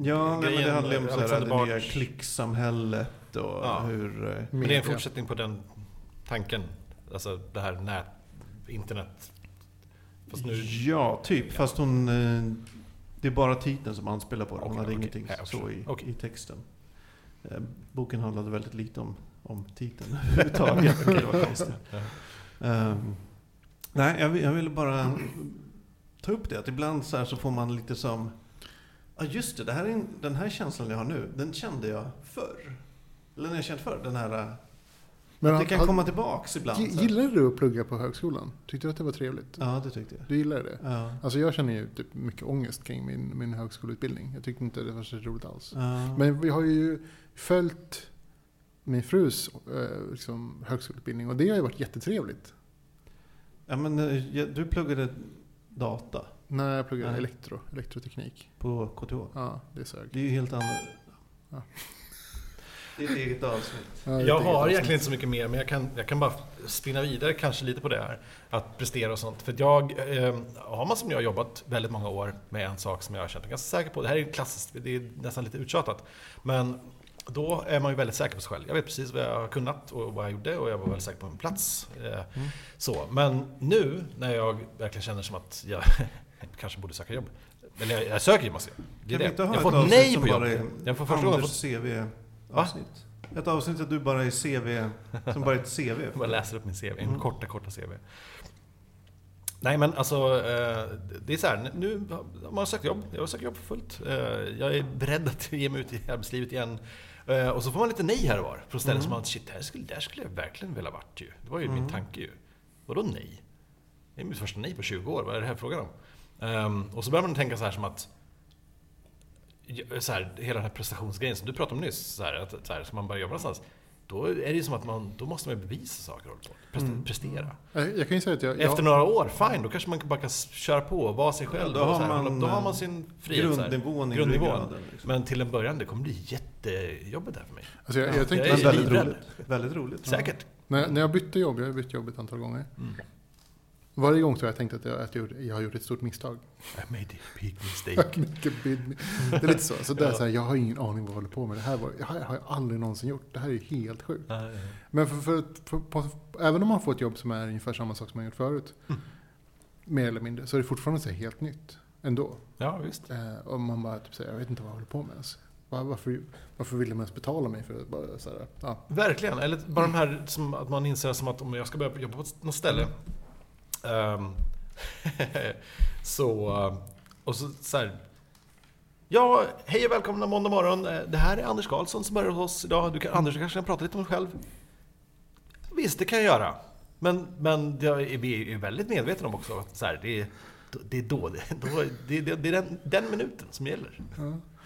A: Ja, nej, men det
C: Grejen,
A: handlar ju om så här,
C: Alexander
A: det nya
C: Bard.
A: klicksamhället och
C: Ja.
A: hur... eh,
C: Men det är en
B: Media.
C: fortsättning på den tanken. Alltså det här nät, internet. Fast nu...
A: Ja, typ. Fast hon... eh, Det är bara titeln som anspelar på det. Hon
C: Okej,
A: hade
C: okej.
A: ingenting
C: Ja, jag
A: så
C: förstår.
A: i,
C: Okej.
A: i texten. Eh, Boken handlade väldigt lite om, om titeln överhuvudtaget. vilket var konstigt.
C: Ja.
A: Ehm, nej, jag, vill- jag ville bara ta upp det. Att ibland så, här så får man lite som... Ja, just det. det här är en, den här känslan jag har nu, den kände jag förr. Eller när jag känt förr. Den här... eh,
B: Men
A: det
B: han-
A: kan
B: han-
A: komma tillbaks ibland.
B: gi-
A: så här.
B: Gillade du att plugga på högskolan? Tyckte du att det var trevligt?
A: Ja, det tyckte jag.
B: Du gillade det?
A: Ja.
B: Alltså jag känner ju typ mycket ångest kring min, min högskoleutbildning. Jag tyckte inte det var så roligt alls.
A: Ja.
B: Men vi har ju följt min frus eh, liksom, högskoleutbildning och det har ju varit jättetrevligt.
A: Ja, men, eh, ja, du pluggade data
B: Nej, jag pluggade
A: Nej.
B: elektro, elektroteknik.
A: på KTH.
B: Ja, det sög.
A: Det är ju helt annat.
B: Ja.
A: Det är ett eget avsnitt.
B: Ja, det är ett
C: Jag
B: eget
C: har
B: avsnitt.
C: egentligen inte så mycket mer, men jag kan, jag kan bara spinna vidare kanske lite på det här. Att prestera och sånt. För att jag, eh, har man som jag jobbat väldigt många år med en sak som jag har känt mig ganska säker på. Det här är ju klassiskt, det är nästan lite uttjatat. Men då är man ju väldigt säker på sig själv. Jag vet precis vad jag har kunnat och vad jag gjorde och jag var väldigt säker på min plats. Eh,
B: Mm.
C: så. Men nu när jag verkligen känner som att jag kanske borde söka jobb. Eller jag, jag söker ju måste jag. Det
A: Kan
C: är
A: vi
C: det.
A: inte
C: Jag
A: ha
C: har
A: ett
C: fått
A: avsnitt
C: nej
A: som
C: på jobb.
A: bara är
C: Jag får första gången
A: Anders
C: fått,
A: CV-avsnitt. Ett avsnitt där du bara är CV, som bara är ett CV.
C: Jag bara läser upp min CV, en korta, korta CV. Nej men alltså, eh, det är så här, nu har man sökt jobb, jag har sökt jobb för fullt. Eh, Jag är beredd att ge mig ut i arbetslivet igen. Eh, Och så får man lite nej här och var, från ställen som man, shit, här skulle, där skulle jag verkligen vilja varit ju. Det var ju min tanke ju. Vadå nej? Det är mitt första nej på 20 år, vad är det här frågan om? Ehm, och så börjar man tänka så här som att så här, hela den här prestationsgrejen som du pratade om nyss, så här, att så här, ska man börja jobba någonstans, då är det ju som att man, då måste man ju bevisa saker och prestera.
A: Mm.
C: prestera.
B: Eh, Jag, jag kan ju säga att jag...
C: Efter några år, fine, då kanske man bara kan s- köra på och vara sig själv.
A: då
C: och
A: har
C: så här, hålla-
A: man,
C: då har
A: eh,
C: man sin frihet. så här.
A: grundnivån i ryggraden, liksom.
C: Men till en början, det kommer bli jättejobbigt här för mig.
B: jag, alltså jag, jag tänkte,
C: jag
A: Men
C: är
A: väldigt
C: livrädd.
A: roligt. Väldigt roligt.
C: Säkert.
B: När, när jag bytte jobb, jag har bytt jobb ett antal gånger.
C: Mm.
B: Varje gång så har jag tänkt att jag, att jag, gjorde- jag har gjort ett stort misstag.
C: I made a big mistake.
B: Mycket bid- Det är lite så. Så där, så här, jag har ingen aning vad jag håller på med. Det här, var, det här har jag aldrig någonsin gjort. Det här är ju helt sjukt.
C: Ja, ja.
B: Men för, för, att- för, på, även om man får ett jobb som är ungefär samma sak som man gjort förut,
C: Mm.
B: mer eller mindre, så är det fortfarande så här helt nytt ändå.
C: ja, visst.
B: Eh, och man bara typ säger, jag vet inte vad jag håller på med ens. Var, varför, varför vill de ens betala mig för att bara så här, ja.
C: Verkligen, eller bara de här som att man inser som att om jag ska börja jobba på något ställe ehm, Så, eh, och så, så här, Ja, hej och välkomna måndag morgon. Eh, Det här är Anders Karlsson som börjar hos oss idag. Du kan, Anders, du kanske kan prata lite om dig själv? Visst, det kan jag göra. Men, men jag är, vi är väldigt medvetna om också att så här, det, är, det är då, det, då det, det, det är den, den minuten som gäller.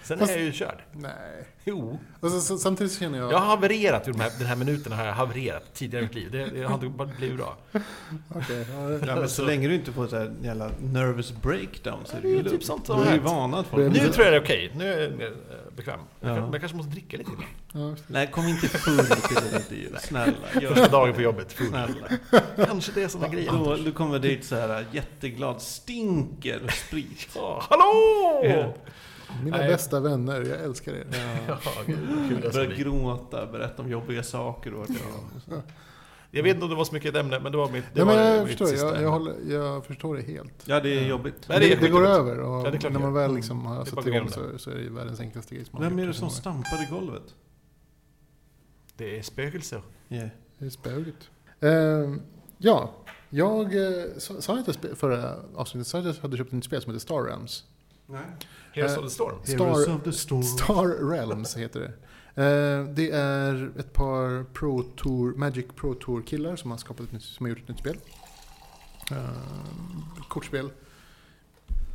C: Sen är
B: Fast-
C: jag ju körd.
B: Nej.
C: Jo.
B: Alltså, så, samtidigt så känner jag...
C: Jag har havererat i de här, den här minuten har jag havererat tidigare i mitt liv. Det, det har inte bara blivit bra.
B: Okej, ja, det-
A: Ja, men så länge du inte får så här jävla nervous breakdown så är det
C: Det
A: ju
C: är typ
A: lugnt.
C: sånt
A: Du
C: som
A: är
C: har
A: ju
C: hänt.
A: van att
B: Det är
A: folk...
C: Nu tror jag det är okej. Nu är jag eh, bekväm. Jag,
A: Ja.
C: kan, jag kanske måste dricka lite innan.
B: ja, just det.
A: Nej, kom inte full till det där. Snälla, gör
C: Första
A: inte
C: dagen
A: det.
C: på jobbet. full.
A: Snälla.
C: Kanske det är som är grejen.
A: Då, du kommer dit så här äh, jätteglad, stinker sprit.
C: Ja, hallå!
B: Mina
C: Nej.
B: bästa vänner, jag älskar er.
C: Ja, gud, kul det ska
A: Börjar
C: bli.
A: gråta, berätta om jobbiga saker och vart jag var. och så.
C: jag vet inte om det var så mycket ett ämne, men det var mitt, det
B: Nej, men
C: var
B: jag,
C: mitt
B: förstår,
C: sista
B: jag,
C: ämne.
B: jag, håller, jag förstår det helt.
A: Ja, det är jobbigt.
C: Nej, det är
B: det, det går
C: skitjobbigt.
B: över och
C: Ja, det är klart
B: när
C: det
B: man
C: gör.
B: väl liksom har
C: Det är bara
B: satt
C: att gå
B: igång
C: igenom
B: så, så är det ju världens enklaste grej som man har
A: Vem är
B: gjort
A: det
B: i
A: som
B: många år.
A: stampar i golvet?
C: Det är spökelser.
A: Yeah.
B: Det är spöget. Eh, ja, jag eh, sa sa jag inte spe- förra avsnittet sa jag att jag hade köpt ett spel som heter Star Realms.
A: Nej.
C: Heroes
B: Eh,
C: of the Storm.
A: Heroes
B: Star-
A: of the storm.
B: Star Realms heter det. Eh, det är ett par Pro Tour, Magic Pro Tour-killar som har, skapat ett nytt, som har gjort ett nytt spel. Eh, kortspel.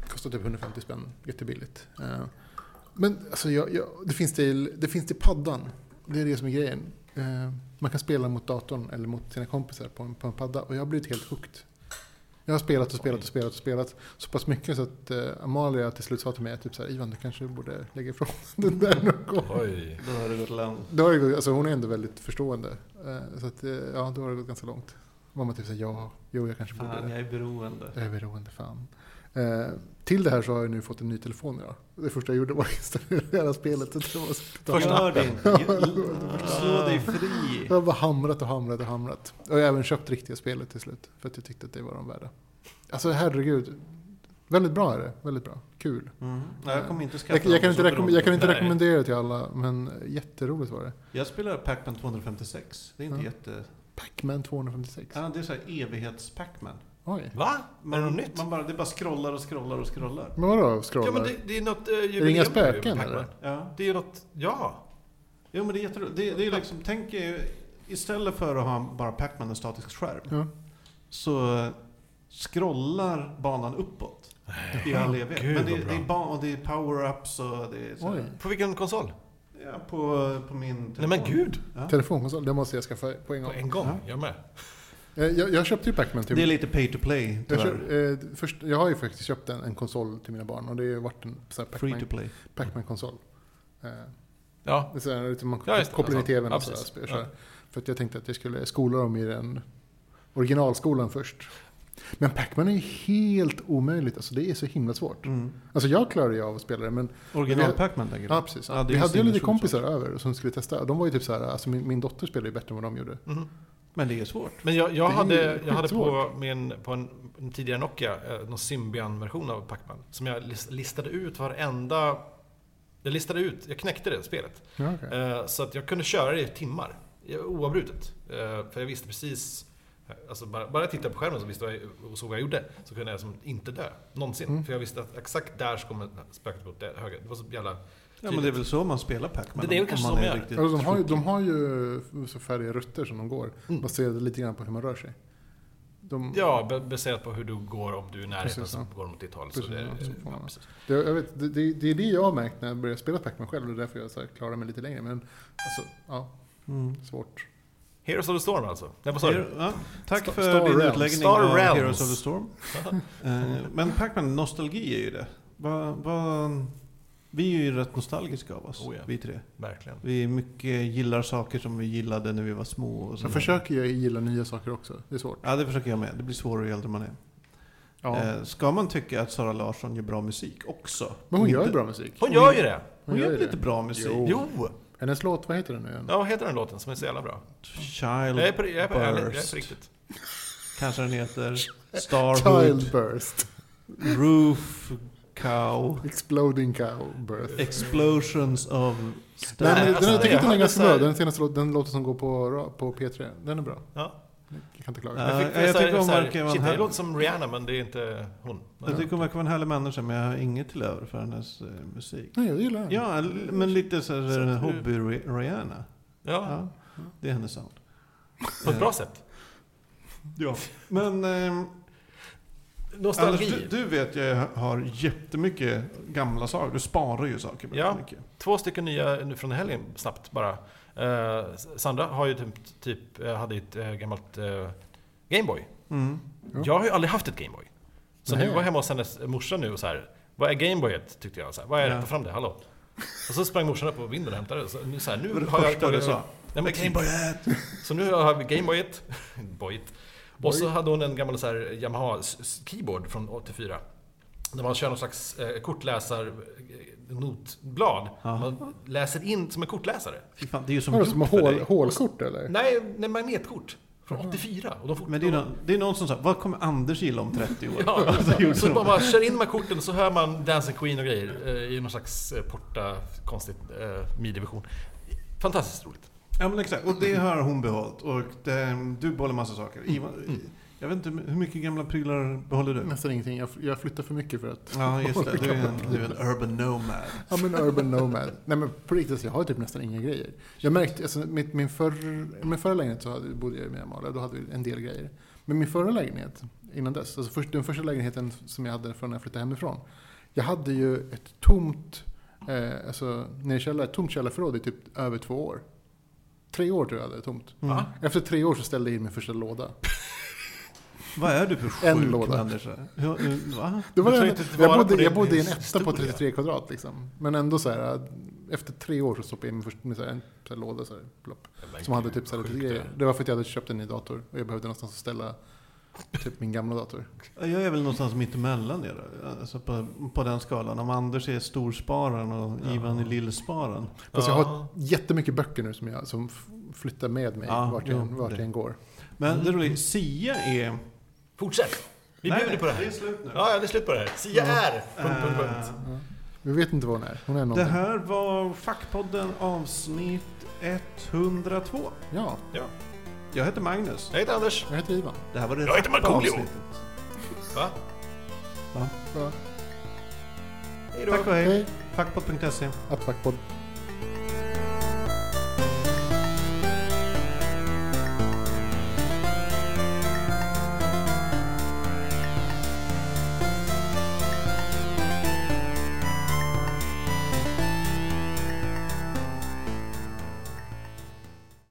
B: Kostar typ 150 spänn, jättebilligt. Eh, men alltså, jag, jag, det, finns till, det finns till paddan. Det är det som är grejen. Eh, man kan spela mot datorn eller mot sina kompisar på en, på en padda och jag har blivit helt hooked. Jag har spelat och spelat och spelat och spelat så pass mycket så att eh, Amalia till slut sa till mig typ så här, Ivan du kanske borde lägga ifrån den där någon gång.
C: Oj.
A: Då har det gått land.
B: Då har det gått, alltså hon är ändå väldigt förstående. Eh, Så att, eh, ja, då har det gått ganska långt. Då var man typ såhär, ja, jo jag kanske
A: Fan,
B: borde
A: jag är beroende.
B: jag är beroende fan. Eh, till det här så har jag nu fått en ny telefon idag. Det första jag gjorde var att installera hela spelet. Så det var så
C: Första
A: Gör det
C: appen.
A: inte. Gör- Slå dig fri.
B: jag har bara hamrat och hamrat och hamrat. Och jag har även köpt riktiga spelet till slut. För att jag tyckte att det var de värda. Alltså herregud. Väldigt bra är det. Väldigt bra. Kul.
A: Mm. Nej, jag kommer inte skaffa
B: Jag, jag, kan, inte
A: dem, så
B: rekomm- jag kan inte
C: Nej.
B: rekommendera det till alla, men jätteroligt var det.
A: Jag spelar Pac-Man 256. Det är inte
B: Ja.
A: jätte...
B: Pac-Man 256.
A: Ja, det är så här evighets-Pac-Man.
B: Oj.
C: Va? Är det något nytt?
A: Man bara, det bara scrollar och scrollar och scrollar.
B: Men vadå scrollar?
C: Ja, men det, det är något... eh,
B: inga
C: jubileum nu,
B: spöken,
C: Pac-Man.
B: eller?
A: Ja.
C: Det är något... Ja.
A: Jo, men det är jätteroligt. Det, det är liksom, tänk er, istället för att ha bara Pac-Man en statisk skärm
B: Ja.
A: så scrollar banan uppåt i all evighet.
C: Äh, Gud,
A: Men det,
C: vad bra.
A: det är, ba- och det är power-ups och det är så
B: Oj.
A: här,
C: På vilken konsol?
A: ja, på, på min
C: Nej men gud!
A: Ja.
B: Telefonkonsol, det måste jag skaffa på en
C: På
B: gång.
C: en gång, jag med.
B: Eh, Jag, jag köpte ju Pac-Man till
A: Det är lite pay to play,
B: jag,
A: tyvärr.
B: köp, eh, först, jag har ju faktiskt köpt en, en konsol till mina barn och det har ju varit en sån här
A: Free to
B: Pac-Man-
A: play.
B: Pac-Man-konsol. Eh,
C: Ja,
B: det är så här, lite man
C: Ja, just det.
B: kopplar in i
C: Alltså,
B: tvn
C: ja,
B: och sådär.
C: precis.
B: spel, så här. För att jag tänkte att jag skulle skola dem i den originalskolan först. Men Pac-Man är ju helt omöjligt, alltså det är så himla svårt.
A: Mm.
B: Alltså jag klarar ju av att spela det, men
A: Original
B: Vi-
A: Pac-Man, tänker du?
B: ja, precis.
A: Ja, det är
B: vi
A: ju
B: hade ju lite
A: sinnesfullt
B: kompisar över som skulle testa. De var ju typ så här, alltså min, min dotter spelade ju bättre än vad de gjorde.
A: Mm.
C: mhm.
A: Men det är svårt.
C: Men jag, jag,
B: Det är
C: hade, jag hade på,
B: skitsvårt.
C: min, på en, en tidigare Nokia, eh, någon Symbian-version av Pac-Man. Som jag lis- listade ut varenda... Jag listade ut, jag knäckte det spelet.
B: Ja, okej.
C: Eh, Så att jag kunde köra det i timmar. eh, Oavbrutet. Eh, För jag visste precis... eh, Alltså bara, bara jag tittade på skärmen så visste jag, och såg vad jag gjorde. Så kunde jag som inte dö. Någonsin.
B: Mm.
C: För jag visste att exakt där så kommer spöket gå åt det- höger. Det var så jävla...
A: Ja, men det är väl så man spelar Pac-Man?
C: Det är väl
A: om- om
C: kanske
A: man
C: så
A: är
C: man gör.
A: riktigt
B: Alltså, de, har ju,
A: tråkig.
B: de har ju så färdiga rutter som de går.
C: Mm.
B: Baserade lite grann på hur man rör sig. De,
C: Ja, be- baserat på hur du går. Om du är i närheten
B: Precis,
C: så
B: ja.
C: går de åt ditt håll. Så
B: Precis,
C: det,
B: ja, så får
C: ja,
B: man.
C: precis.
B: det, jag vet, det, det, det är det jag har märkt när jag började spela Pac-Man själv. Och det är därför jag så här, klarar mig lite längre. Men alltså, ja,
A: Mm.
B: svårt.
C: Heroes of the Storm alltså. Nej, vad sa du?
A: Ja, tack
B: Star-
A: för
B: Star
A: din
B: Realms.
A: utläggning
C: Star
A: av
C: Realms.
A: Heroes of the Storm. Eh, Men Pac-Man, nostalgi är ju det. Va, va, vi är ju rätt nostalgiska av oss,
C: Oh ja.
A: vi tre.
C: Verkligen.
A: Vi är mycket gillar saker som vi gillade när vi var små. Och
B: Sen
A: sådär.
B: försöker jag gilla nya saker också. Det är svårt.
A: Ja, det försöker jag med. Det blir svårare ju äldre man är.
B: Ja.
A: Eh, Ska man tycka att Sara Larsson gör bra musik också?
B: men hon gör ju
A: Inte-
B: bra musik.
C: Hon gör ju det!
A: Hon, gör ju lite bra musik.
B: Jo.
C: Jo!
B: Hennes låt, vad heter den nu igen?
C: Ja, vad heter den låten som är så jävla bra?
A: Child
C: Jag är på, jag är på, ärlig, jag är
A: Burst.
C: på riktigt.
A: kanske den heter. Starhood.
B: Child Burst.
A: Roof Cow.
B: Exploding Cow Burst.
A: Explosions of
B: Nej, men,
A: Stan.
B: den,
C: alltså,
B: jag tycker inte den
C: jag
B: är
C: hade
B: ganska
C: så
B: bra.
C: här-
B: Den senaste låten, den låten som går på, ra- på P3. Den är bra.
C: Ja.
B: Jag kan inte klaga.
A: Ja,
C: jag fick
A: jag
C: jag
A: tycker
C: tycker
A: om
C: så här,
A: Mark Evan
C: shit, det
A: här.
C: låter som Rihanna men det är inte hon. Men,
A: Jag tycker hon verkar vara en härlig människa men jag har inget till över för hennes eh, musik.
B: Nej, jag gillar den.
A: Ja, l- men lite så
C: Så
A: här
C: att du-
A: eh, hobby-Rihanna.
C: ja,
A: Ja, det är hennes sound.
C: på ett bra sätt.
A: Ja. Men ehm, Anders,
C: Nostalgi.
A: du, du vet jag har jättemycket gamla saker. Du sparar ju saker väldigt
C: Ja.
A: mycket.
C: Två stycken nya nu från helgen, snabbt bara. Eh, Sandra har ju typ, typ eh, hade ett eh, gammalt eh, Gameboy.
A: Mm.
B: Ja.
C: Jag har ju aldrig haft ett Gameboy. Så när
B: Nej.
C: jag var hemma hos hennes morsa nu och så här, vad är Gameboyet? Tyckte jag. Så här, vad är det?
A: Ja.
C: Ta fram det, hallå. Och så sprang morsan upp på vinden och hämtade det. Så nu, så här, nu
A: Det var det
C: har jag
A: första du sa.
C: Nej, men
A: Gameboyet!
C: Så nu har vi Gameboyet. Boyet. Och så hade hon en gammal så här Yamaha s- s- keyboard från 84. Där man kör någon slags eh, kortläsar eh, notblad.
A: Ja.
C: Man läser in som en kortläsare.
A: Fy fan, det är ju som
B: Vadå,
A: gjort
B: som
A: för
B: hål,
A: dig.
B: hålkort eller?
C: Nej, nej magnetkort. Från 84. Och de fort-
A: Men det är, någon, det är någon som sa, vad kommer Anders gilla om 30 år?
C: Ja,
A: Och så gjorde
C: så
A: de
C: man bara kör in de här korten och så hör man Dancing Queen och grejer eh, i någon slags eh, porta, konstigt eh, midi-version. Fantastiskt roligt.
A: Ja men exakt, och det har hon behållit. Och det, du behåller massa saker. Ivan, Jag vet inte, hur mycket gamla prylar behåller du?
B: Nästan ingenting. Jag, jag flyttar för mycket för att...
A: Ja just det, du är en, du är en urban nomad.
B: I'm an urban nomad. Nej men på riktigt, jag har typ nästan inga grejer. Jag märkte, alltså mitt, min, förr, min förra lägenhet så hade, bodde jag i Myanmar, då hade vi en del grejer. Men min förra lägenhet, innan dess, alltså först, den första lägenheten som jag hade från när jag flyttade hemifrån. Jag hade ju ett tomt, eh, alltså nere i källaren, ett tomt källarförråd i typ över två år. Tre år tror jag hade det tomt.
C: Va?
B: Efter tre år så ställde jag in min första låda.
A: Vad är du för sjuk
B: En låda.
A: människa? Hur- hur- Va?
B: Det var
C: Du tar
B: det,
C: inte tillvara
B: jag,
C: på
B: bodde,
C: din
B: jag bodde i en etta
C: historia.
B: på 33 kvadrat liksom. Men ändå så här, efter tre år så stoppade jag in min första, med så här, en så här låda så här, plopp,
C: Men
B: Som hade
C: gud,
B: typ så här
C: vad
B: lite
C: sjukt det är.
B: grejer. Det var för att jag hade köpt en ny dator och jag behövde någonstans att ställa typ min gamla dator.
A: Jag är väl någonstans mittemellan er. Alltså på, på den skalan. Om Anders är storsparen och
C: Ja.
A: Ivan är lillsparen.
B: Fast jag har
C: Ja.
B: jättemycket böcker nu som, jag, som f- flyttar med mig
A: Ja,
B: vart, jag,
A: jo,
B: vart
A: det.
B: jag än går.
A: Men det roliga är, Sia är...
C: Fortsätt! Mm. Vi
A: Nej,
C: bjuder på det här.
A: är slut nu.
C: Ja, ja, det är slut på det här. Sia är... Punkt, punkt, punkt.
A: Eh,
B: Vi vet inte vad hon är. Hon är
A: Det
B: någonting.
A: här var Fackpodden avsnitt 102.
B: Ja,
C: Ja.
A: Jag heter Magnus.
C: Jag heter Anders.
B: jag heter Ivan.
A: Det här var det
D: Jag heter
A: sista
D: Markoolio.
A: avsnittet.
C: Va?
A: Va?
B: Ja,
C: Hej då.
A: Tack och hej.
B: Hej,
A: Fackpodd.se. E.
B: Attfackpodd.